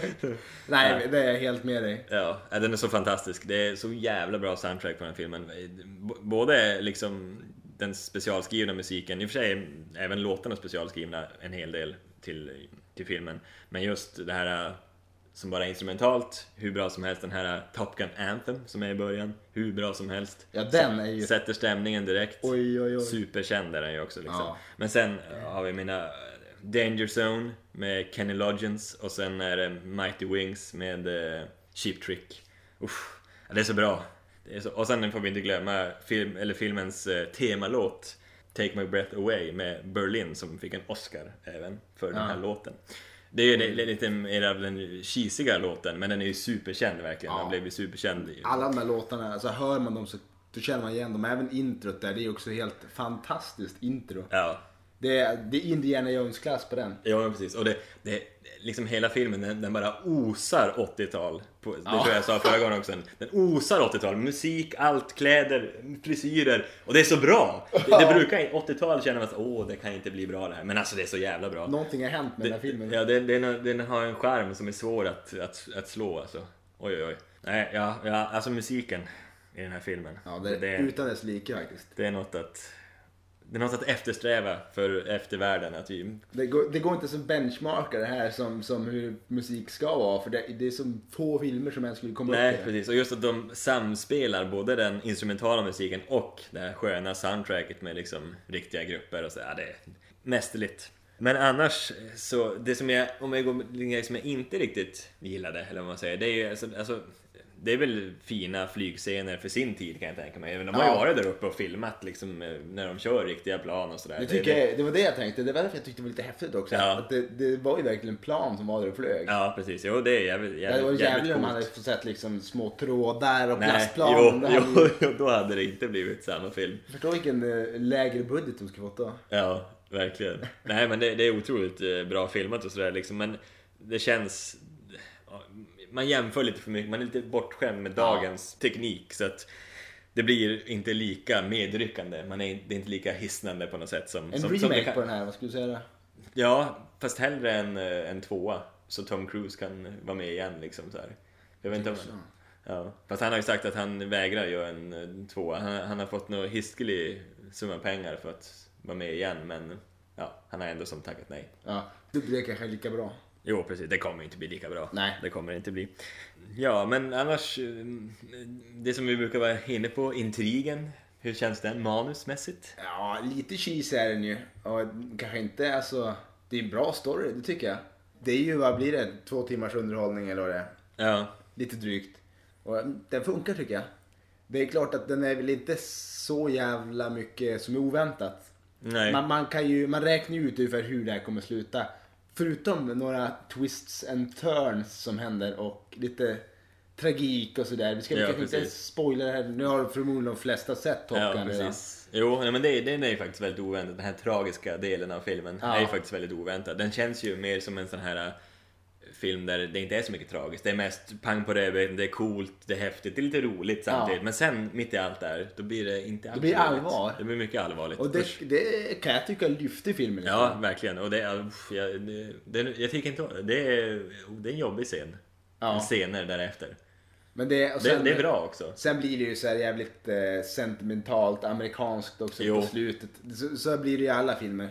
S1: Nej, det är jag helt med dig.
S2: Ja, ja, den är så fantastisk. Det är så jävla bra soundtrack på den här filmen. B- Både liksom den specialskrivna musiken, i och för sig är även låtarna specialskrivna en hel del till, till filmen. Men just det här äh, som bara är instrumentalt, hur bra som helst. Den här äh, Top Gun Anthem som är i början, hur bra som helst.
S1: Ja, den är ju...
S2: Sätter stämningen direkt.
S1: Oj, oj, oj.
S2: Superkänd är den ju också liksom.
S1: Ja.
S2: Men sen har vi mina eh, Danger Zone med Kenny Loggins och sen är det Mighty Wings med eh, Cheap Trick. Uff, ja, det är så bra. Det är så... Och sen får vi inte glömma film, eller filmens eh, temalåt Take My Breath Away med Berlin som fick en Oscar även för den här låten. Det är ju
S1: Mm.
S2: li- lite mer av den cheesiga låten men den är ju superkänd verkligen. Den
S1: Ja.
S2: blev ju superkänd.
S1: Alla de där låtarna, alltså hör man dem så då känner man igen dem. Även introt där, det är också helt fantastiskt intro.
S2: Ja.
S1: Det är, det är Indiana Jones-klass på den.
S2: Ja, men precis. Och det, det, liksom hela filmen, den, den bara osar 80-tal. På- Det tror jag jag sa förra gången också. Den osar 80-tal. Musik, allt, kläder, frisyrer. Och det är så bra! Det, det brukar, 80-tal känner man att åh, det kan inte bli bra det här. Men alltså det är så jävla bra.
S1: Någonting har hänt med den här filmen.
S2: Ja, den, den, den har en skärm som är svår att, att, att slå alltså. Oj, oj, oj. Nej, ja, ja, alltså musiken i den här filmen.
S1: Ja, det,
S2: det,
S1: Utan dess like faktiskt.
S2: det är något att... Det är något att eftersträva för eftervärlden. Att vi,
S1: Det går, det går inte som benchmarka det här som, som hur musik ska vara för det, det är så få filmer som ens skulle komma
S2: Nej,
S1: upp i det.
S2: precis. Och just att de samspelar både den instrumentala musiken och det här sköna soundtracket med liksom riktiga grupper och så. Ja, det är mästerligt. Men annars, så det som jag, om jag går med en grej som jag inte riktigt gillade, eller vad man säger, det är ju alltså, alltså det är väl fina flygscener för sin tid kan jag tänka mig. Även de har ju
S1: Ja.
S2: varit där uppe och filmat liksom eh, när de kör riktiga plan och sådär.
S1: Det,
S2: Det är
S1: tycker jag, det var det jag tänkte, det var därför jag tyckte det var lite häftigt också.
S2: Ja.
S1: Att det, det var ju verkligen en plan som var där och flög.
S2: Ja, precis. Jo, det är jävligt, jävligt,
S1: det var
S2: jävligt,
S1: jävligt om
S2: coolt.
S1: man hade fått sett liksom små trådar och
S2: Nej,
S1: plastplan.
S2: jo,
S1: Det hade
S2: jo,
S1: ju-
S2: [LAUGHS] jo, då hade det inte blivit samma film.
S1: Förstå vilken eh, lägre budget de skulle fått då.
S2: Ja, verkligen. Nej men det, det är otroligt eh, bra filmat och sådär liksom, men det känns... ja, Man jämför lite för mycket, man är lite bortskämd med dagens teknik så att det blir inte lika medryckande, man är, det är inte lika hisnande på något sätt som...
S1: En
S2: som, som det
S1: remake
S2: kan-
S1: på den här, vad skulle du säga då?
S2: Ja, fast hellre en, eh, en tvåa så Tom Cruise kan vara med igen liksom så här. Jag vet inte om... Ja. Fast han har ju sagt att han vägrar göra en eh, tvåa. Han, han har fått någon hiskelig summa pengar för att vara med igen men ja, han har ändå som tackat nej.
S1: Ja, det blir kanske lika bra.
S2: Jo precis, det kommer ju inte bli lika bra.
S1: Nej.
S2: Det kommer det inte bli. Ja, men annars, eh, det som vi brukar vara inne på, intrigen. Hur känns den manusmässigt?
S1: Ja, lite cheesy är den ju. Och kanske inte, alltså. Det är en bra story, det tycker jag.
S4: Det är ju, vad blir det, två timmars underhållning eller vad det är?
S2: Ja,
S4: Lite drygt.
S1: Och mm, den funkar tycker jag. Det är klart att den är väl inte så jävla mycket som är oväntat.
S2: nej.
S1: Man, man, kan ju, man räknar ju ut ungefär hur det här kommer sluta. Förutom några twists and turns som händer och lite tragik och sådär. Vi ska
S2: Ja,
S1: väl kanske inte
S2: precis.
S1: ens spoila det här. Nu har förmodligen de flesta sett Top
S2: Ja,
S1: Gun redan.
S2: precis. Jo, nej, men det, den är ju faktiskt väldigt oväntad. Den här tragiska delen av filmen
S1: Ja.
S2: är ju faktiskt väldigt oväntad. Den känns ju mer som en sån här äh, film där det inte är så mycket tragiskt. Det är mest pang på röven, det är coolt, det är häftigt, det är lite roligt samtidigt. Men sen, mitt i allt där, då blir det inte alls
S1: blir
S2: roligt.
S1: allvar.
S2: Det blir mycket allvarligt.
S1: Och
S2: Usch.
S1: det, det kan jag tycka lyfter filmen lite.
S2: Ja, verkligen. Och det, är- uff, jag, det, det, jag tycker inte om- det. Är, det är en jobbig scen.
S1: Ja.
S2: Scener därefter.
S1: Men det, och
S2: Det,
S1: sen,
S2: det är bra också.
S1: Sen blir det ju så här jävligt eh, sentimentalt amerikanskt också
S2: Jo. Mm.
S1: på slutet. Så, så blir det i alla filmer.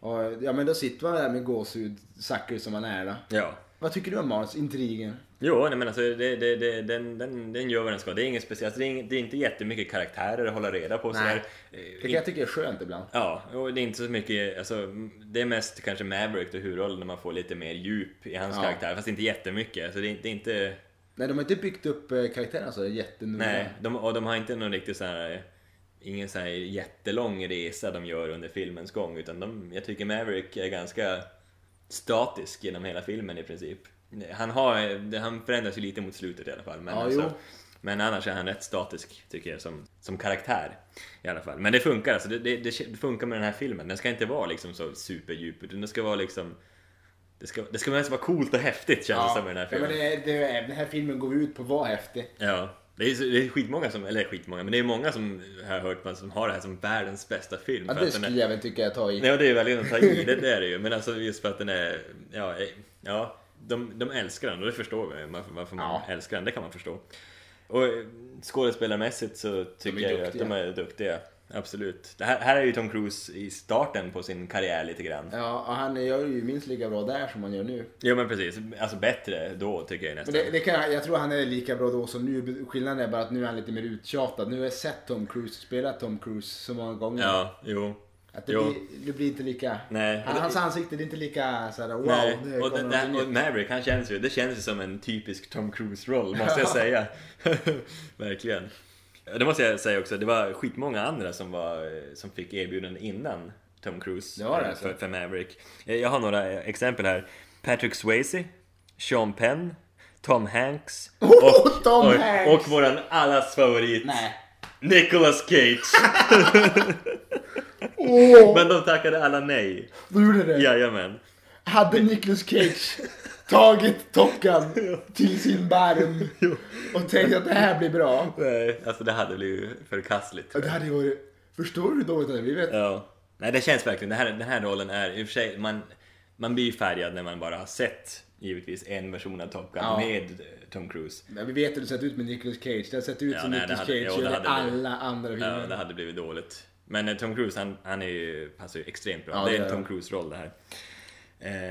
S1: Och, ja men då sitter man där med gåshud, sucker som man är då.
S2: Ja.
S1: Vad tycker du om manus? Intrigen?
S2: Jo, nej, men alltså, det, det, det, den, den, den gör vad den ska. Det är inget speciellt. Alltså, Det är, ing, det är inte jättemycket karaktärer att hålla reda på. och Sådär.
S1: Det
S2: Eh,
S1: kan jag tycka är skönt ibland.
S2: Ja, och det är inte så mycket, alltså, det är mest kanske Maverick och huvudrollen när man får lite mer djup i hans
S1: Ja.
S2: karaktär, fast inte jättemycket. Alltså, det, är- det är inte,
S1: Nej de har inte byggt upp eh, karaktärerna så jättenoga.
S2: nej, de, och de har inte någon riktig så här, ingen så här jättelång resa de gör under filmens gång, utan de, jag tycker Maverick är ganska statisk genom hela filmen i princip. Han, har, han förändras ju lite mot slutet i alla fall, men,
S1: Ja,
S2: alltså,
S1: jo.
S2: men annars är han rätt statisk tycker jag som, som karaktär i alla fall. Men det funkar alltså, det, det, det funkar med den här filmen. Den ska inte vara liksom så superdjup, utan den ska vara liksom det ska, det ska mest vara coolt och häftigt känns det som med den här
S1: Ja,
S2: filmen.
S1: men det, det, den här filmen går ut på att vara häftig.
S2: Ja, det är, så- det är skitmånga som, eller skitmånga, men det är många som har jag hört man som har det här som världens bästa film.
S1: Ja,
S2: för
S1: det
S2: att den
S1: skulle
S2: är,
S1: jag väl tycka jag tar i.
S2: ja, det är verkligen att ta i, det, det är det ju. Men alltså just för att den är, ja, eh, ja de, de älskar den och det förstår vi varför, varför man
S1: Ja.
S2: älskar den, det kan man förstå. Och eh, skådespelarmässigt så tycker jag ju att
S1: duktiga.
S2: de är duktiga. Absolut. Det här, här är ju Tom Cruise i starten på sin karriär lite grann.
S1: Ja, och han gör ju minst lika bra där som han gör nu.
S2: Ja men precis, alltså bättre då tycker jag nästan.
S1: Men det, det kan, jag tror han är lika bra då som nu. Skillnaden är bara att nu är han lite mer uttjatad. Nu har jag sett Tom Cruise spela Tom Cruise så många gånger.
S2: Ja, jo.
S1: Att det,
S2: jo.
S1: blir, det blir inte lika...
S2: Nej.
S1: Han, hans ansikte det är inte lika såhär wow.
S2: Nej,
S1: nu
S2: och,
S1: kommer
S2: det, det,
S1: någonting
S2: och
S1: nytt.
S2: Maverick, han känns ju, det känns ju som en typisk Tom Cruise-roll,
S1: [LAUGHS]
S2: måste jag säga. [LAUGHS] Verkligen. Det måste jag säga också, det var skitmånga andra som, var, eh, som fick erbjudanden innan Tom Cruise
S1: Det var det
S2: eh,
S1: alltså.
S2: för, för Maverick. Eh, Jag har några eh, exempel här. Patrick Swayze, Sean Penn, Tom Hanks och,
S1: [LAUGHS] Tom
S2: och,
S1: Hanks!
S2: och våran allas favorit
S1: Nej. [LAUGHS]
S2: Nicolas Cage.
S1: Åh,
S2: Men de tackade alla nej.
S1: de gjorde det.
S2: Jajamän.
S1: Hade Nicolas Cage tagit Top
S2: [LAUGHS]
S1: Gun till sin barm och tänkt att det här blir bra.
S2: Nej, Alltså det hade blivit förkastligt.
S1: Ja, Det hade ju varit... Förstår du hur dåligt det hade blivit?
S2: Ja. Nej, det känns verkligen. Det här, den här rollen är i och för sig, man, man blir ju färgad när man bara har sett givetvis en version av Top Gun
S1: Ja.
S2: med eh, Tom Cruise.
S1: Nej, vi vet hur det sett ut med Nicolas Cage. Det har sett ut
S2: Ja,
S1: som
S2: nej, det
S1: Nicolas
S2: hade-
S1: Cage
S2: jo, det
S1: gör i
S2: hade det.
S1: alla andra
S2: Ja, det
S1: filmer.
S2: hade blivit dåligt. Men eh, Tom Cruise, han, han är ju, passar ju extremt bra.
S1: Ja,
S2: det
S1: det
S2: är en
S1: gör
S2: Tom
S1: han.
S2: Cruise-roll det här.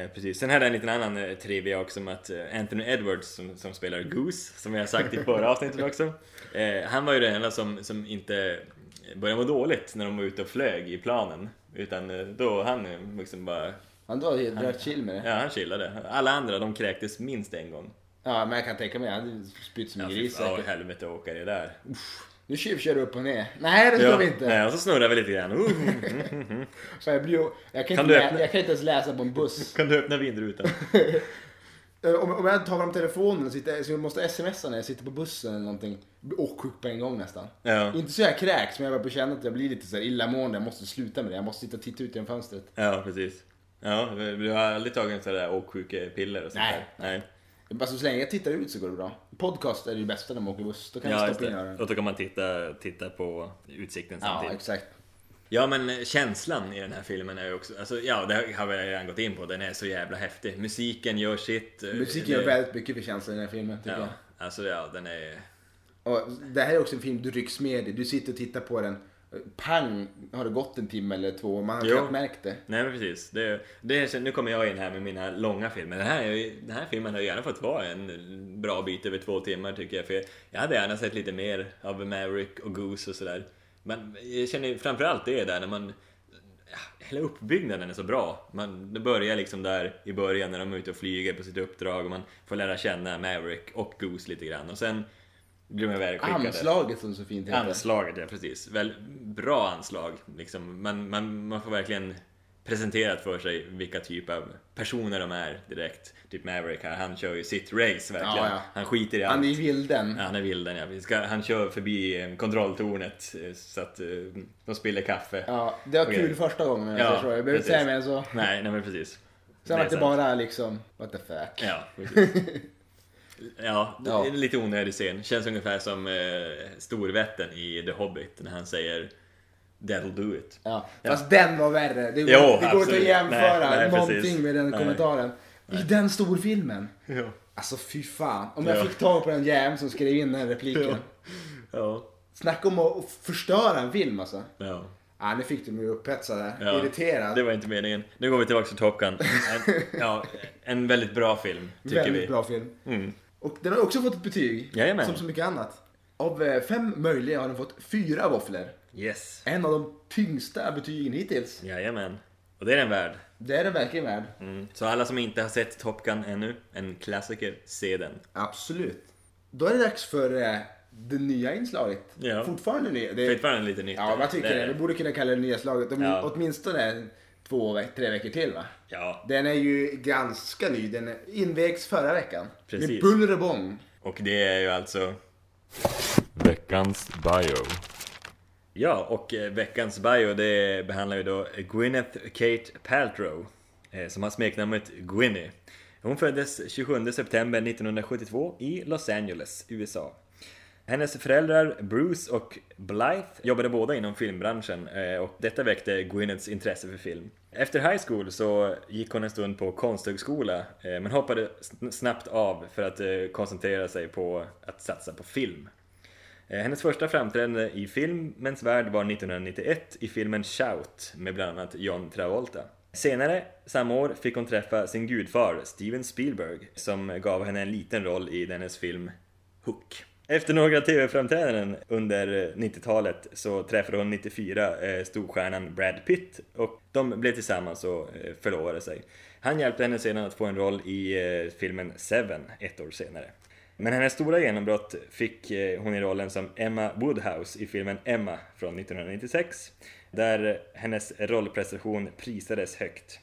S2: Eh, precis. Sen hade jag en liten annan eh, trivia också om att eh, Anthony Edwards som, som spelar Goose, som jag har sagt i förra avsnittet [LAUGHS] också. Eh, han var ju den enda som, som inte började må dåligt när de var ute och flög i planen. Utan eh, då han eh, liksom bara
S1: Han var helt rätt chill med det.
S2: Ja, han chillade. Alla andra de kräktes minst en gång.
S1: Ja, men jag kan tänka mig. Han hade spytt som en
S2: Ja, fy
S1: gris
S2: fan, åh,
S1: säkert.
S2: helvete att åka det där.
S1: Nu tjuvkör du upp och ner. Nej, det ska
S2: Ja,
S1: vi inte.
S2: nej, och så snurrar vi lite grann. Uh,
S1: Så jag, blir, ju- jag, kan
S2: Kan
S1: inte
S2: du
S1: lä-
S2: öppna-
S1: jag kan inte ens läsa på en buss.
S2: kan du öppna vindrutan?
S1: Eh, om, om jag tar fram telefonen och sitter, så jag måste smsa när jag sitter på bussen eller någonting. Och sjuk på en gång nästan.
S2: Ja.
S1: Inte så jag kräks, men jag börjar på känna att jag blir lite så här illamående. Jag måste sluta med det. Jag måste sitta och titta ut genom fönstret.
S2: Ja, precis. Ja, du har aldrig tagit en sån där åksjukepiller och sånt
S1: Nej,
S2: där? Nej.
S1: Alltså, så länge jag tittar ut så går det bra. Podcast är det bästa när man åker buss. Då kan
S2: Ja,
S1: jag
S2: just
S1: stoppa in
S2: det.
S1: öronen.
S2: Och då kan man titta, titta på utsikten
S1: Ja,
S2: samtidigt.
S1: exakt.
S2: Ja, men känslan i den här filmen är ju också... Alltså, ja, det har vi redan gått in på. Den är så jävla häftig. Musiken gör sitt.
S1: Musiken gör
S2: Det-
S1: väldigt mycket för känslan i den här filmen, tycker
S2: Ja, alltså ja, den är...
S1: jag. Och det här är också en film du rycks med i. Du sitter och tittar på den. Pang har det gått en timme eller två och man har
S2: Jo.
S1: knappt märkt det.
S2: Nej men precis. Det, det, är- nu kommer jag in här med mina långa filmer. Den här, är ju- den här filmen har gärna fått vara en bra bit över två timmar tycker jag. För jag, jag hade gärna sett lite mer av Maverick och Goose och sådär. Men jag känner framförallt det där när man... ja, Hela uppbyggnaden är så bra. Man, det börjar liksom där i början när de är ute och flyger på sitt uppdrag och man får lära känna Maverick och Goose lite grann. Och sen blir man väl skickad.
S1: Anslaget som så fint heter.
S2: Anslaget, ja precis. Väl, bra anslag. Liksom. Man, man, man får verkligen presenterat för sig vilka typ av personer de är direkt. Typ Maverick här, han kör ju sitt race verkligen.
S1: Ja, ja.
S2: Han skiter i allt.
S1: Han är i vilden.
S2: Ja, han är vilden ja. Vi ska, han kör förbi eh, kontrolltornet eh, så att eh, de spiller kaffe.
S1: Ja, det var kul
S2: Okej.
S1: första gången jag
S2: Ja,
S1: förstår. Jag behöver inte säga
S2: precis.
S1: mer än så.
S2: Nej, nej men precis.
S1: Sen
S2: Det är
S1: att det
S2: sant.
S1: bara liksom, what the fuck.
S2: Ja, precis. Ja,
S1: [LAUGHS]
S2: det
S1: Ja.
S2: är en lite onödig scen. Känns ungefär som eh, Storvätten i The Hobbit när han säger That'll do it.
S1: [LAUGHS] Ja. Fast den var värre. Det går, det
S2: Jo,
S1: går inte att
S2: absolut.
S1: jämföra
S2: Nej, nej,
S1: någonting
S2: precis.
S1: med den
S2: Nej.
S1: kommentaren. I den storfilmen.
S2: Ja.
S1: Alltså fy fan. Om jag
S2: Ja.
S1: fick tag på den jäveln som skrev in den här repliken.
S2: Ja. Ja.
S1: Snacka om att förstöra en film alltså.
S2: Ja.
S1: Ja, nu fick du mig upphetsad här.
S2: Ja.
S1: Irriterad.
S2: Det var inte meningen. Nu går vi tillbaka till Top Gun. En, ja, en väldigt bra film, tycker
S1: Väldigt
S2: vi.
S1: bra film.
S2: Mm.
S1: Och den har också fått ett betyg.
S2: Jajamän.
S1: Som så mycket annat. Av eh, fem möjliga har den fått fyra våfflor.
S2: Yes.
S1: En av de tyngsta betygen hittills.
S2: Jajamän. Och det är den värd.
S1: Det är den verkligen värd.
S2: Mm. Så alla som inte har sett Top Gun ännu, en klassiker, se den.
S1: Absolut. Då är det dags för eh, det nya inslaget.
S2: Ja.
S1: Fortfarande nya. Det,
S2: Fortfarande lite nytt.
S1: ja, vad tycker
S2: Det-
S1: det, Vi borde kunna kalla det nya slaget. Om,
S2: Ja.
S1: Åtminstone två, ve- tre veckor till va?
S2: Ja,
S1: Den är ju ganska ny. Den invägs förra veckan. Med
S2: Precis.
S1: buller och bång.
S2: och det är ju alltså... Veckans bio. Ja, och eh, veckans bio det behandlar ju då Gwyneth Kate Paltrow eh, som har smeknamnet Gwynny. Hon föddes 27 september 1972 i Los Angeles, USA. Hennes föräldrar Bruce och Blythe jobbade båda inom filmbranschen eh, och detta väckte Gwyneths intresse för film. Efter high school så gick hon en stund på konsthögskola eh, men hoppade sn- snabbt av för att eh, koncentrera sig på att satsa på film. Eh, Hennes första framträdande i filmens värld var 1991 i filmen Shout med bland annat John Travolta. Senare samma år fick hon träffa sin gudfar Steven Spielberg som gav henne en liten roll i dennes film Hook. Efter några TV-framträdanden under eh, 90-talet så träffade hon 94 eh, storstjärnan Brad Pitt och de blev tillsammans och eh, förlovade sig. Han hjälpte henne sedan att få en roll i eh, filmen Seven ett år senare. Men hennes stora genombrott fick eh, hon i rollen som Emma Woodhouse i filmen Emma från 1996 där hennes rollprestation prisades högt.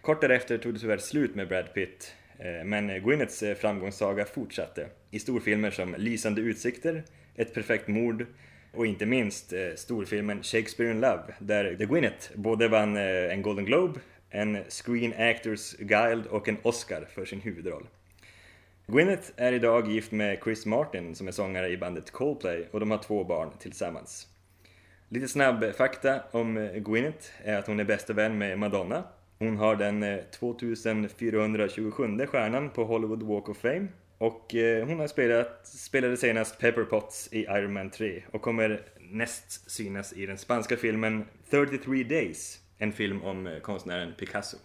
S2: Kort därefter tog det tyvärr slut med Brad Pitt eh, men Gwyneths eh, framgångssaga fortsatte i storfilmer som Lysande utsikter, Ett perfekt mord, Och inte minst eh, storfilmen Shakespeare in Love där The Gwyneth både vann eh, en Golden Globe, en Screen Actors Guild och en Oscar för sin huvudroll. Gwyneth är idag gift med Chris Martin som är sångare i bandet Coldplay och de har två barn tillsammans. Lite snabb fakta om eh, Gwyneth är att hon är bästa vän med Madonna. Hon har den eh, 2427 stjärnan på Hollywood Walk of Fame och eh, hon har spelat, spelade senast Pepper Potts i Iron Man 3 och kommer näst synas i den spanska filmen 33 Days, en film om eh, konstnären Picasso.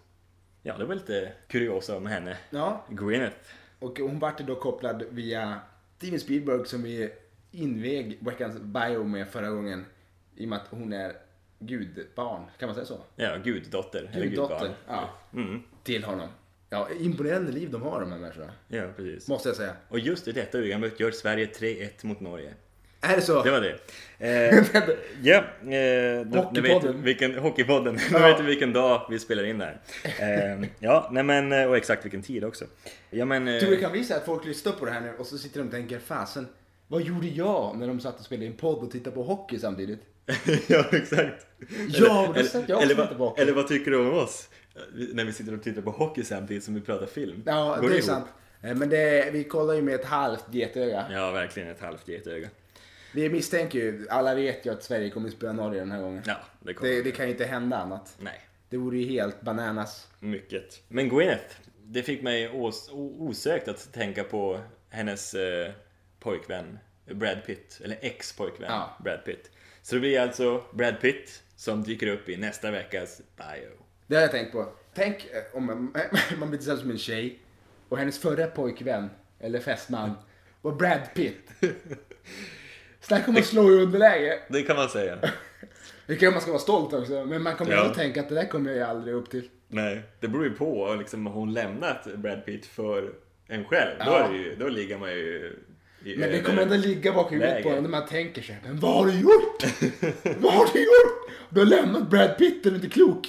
S2: Ja, det var lite kuriosa om henne.
S1: Ja,
S2: Gwyneth.
S1: och hon vart ju då kopplad via Steven Spielberg som vi invig veckans bio med förra gången. I och med att hon är gudbarn, kan man säga så?
S2: Ja, guddotter. eller gudbarn.
S1: Guddotter. Ja,
S2: Mm,
S1: till honom. Ja, imponerande liv de har de här människorna.
S2: ja, precis.
S1: Måste jag säga.
S2: Och just i detta ögonblick gör Sverige 3-1 mot Norge.
S1: Är det så?
S2: Det
S1: [LAUGHS]
S2: var det. Eh, ja, eh, då, nu vet du
S1: Hockeypodden.
S2: vilken, hockeypodden. [LAUGHS] Nu vet du vilken dag vi spelar in där. Eh, ja, nej men, eh, och exakt vilken tid också. Ja, men, eh,
S1: Tror du det kan bli så här att folk lyssnar på det här nu och så sitter de och tänker fasen, vad gjorde jag när de satt och spelade in podd och tittade på hockey samtidigt?
S2: [LAUGHS] ja, exakt.
S1: Ja, det satt jag också
S2: eller,
S1: lite
S2: vad,
S1: bakom.
S2: eller vad tycker du om oss? När vi sitter och tittar på hockey samtidigt som vi pratar film.
S1: Ja,
S2: Går
S1: det är
S2: ihop?
S1: sant. Eh, Men det, vi kollar ju med ett halvt getöga.
S2: Ja, verkligen ett halvt getöga.
S1: Vi misstänker ju, alla vet ju att Sverige kommer att spöa Norge den här gången.
S2: Ja, det kommer.
S1: Det, det kan ju inte hända annat.
S2: Nej.
S1: Det vore ju helt bananas.
S2: Mycket. Men Gwyneth, det fick mig os- o- osökt att tänka på hennes eh, pojkvän Brad Pitt, eller ex-pojkvän
S1: Ja.
S2: Brad Pitt. Så det blir alltså Brad Pitt som dyker upp i nästa veckas bio.
S1: Det har jag tänkt på. Tänk eh, om man, [LAUGHS] man blir tillsammans med en tjej och hennes förra pojkvän, eller fästman, var Brad Pitt. Snacka om att slå i underläge.
S2: Det kan man säga. [LAUGHS]
S1: Det kan man ska vara stolt också, men man kommer
S2: Ja.
S1: ändå tänka att det där kommer jag ju aldrig upp till.
S2: Nej, det beror ju på liksom, om hon lämnat Brad Pitt för en själv. Då, är det ju, då ligger man ju i
S1: Men det
S2: över-
S1: kommer ändå ligga bak huvudet
S2: läge.
S1: på en när man tänker sig, men vad har du gjort? vad har du gjort? Du har lämnat Brad Pitt, är du inte klok?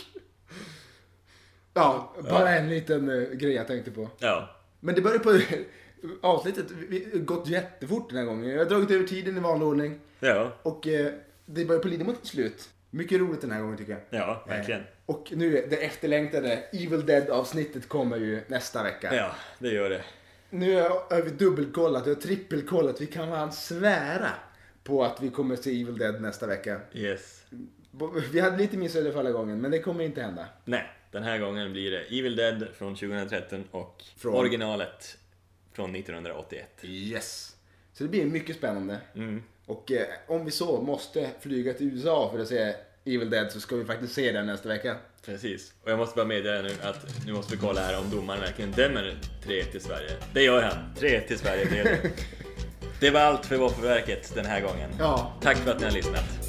S1: Ja, bara en liten eh, grej jag tänkte på.
S2: Ja,
S1: Men det börjar på [LAUGHS] avsnittet, vi- vi- gått jättefort den här gången. Jag har dragit över tiden i vanlig ordning
S2: ja,
S1: och eh, det börjar på lida mot ett slut. Mycket roligt den här gången tycker jag.
S2: ja, verkligen.
S1: Eh, Och nu, det efterlängtade Evil Dead-avsnittet kommer ju nästa vecka.
S2: Ja, det gör det.
S1: Nu har vi dubbelkollat, vi har trippelkollat. Vi kan fan svära på att vi kommer se Evil Dead nästa vecka.
S2: Yes.
S1: Bo- Vi hade lite missat det förra gången, men det kommer inte hända.
S2: Nej, den här gången blir det Evil Dead från 2013 och
S1: Från?
S2: originalet från 1981.
S1: Yes! Så det blir mycket spännande. Och eh, om vi så måste flyga till USA för att se Evil Dead så ska vi faktiskt se den nästa vecka.
S2: Precis. Och jag måste bara meddela nu att nu måste vi kolla här om domaren verkligen dömer 3 till Sverige. Det gör han! 3
S1: [LAUGHS]
S2: till Sverige blev det. Det var allt för Våffelverket den här gången.
S1: Ja.
S2: Tack för att ni har lyssnat.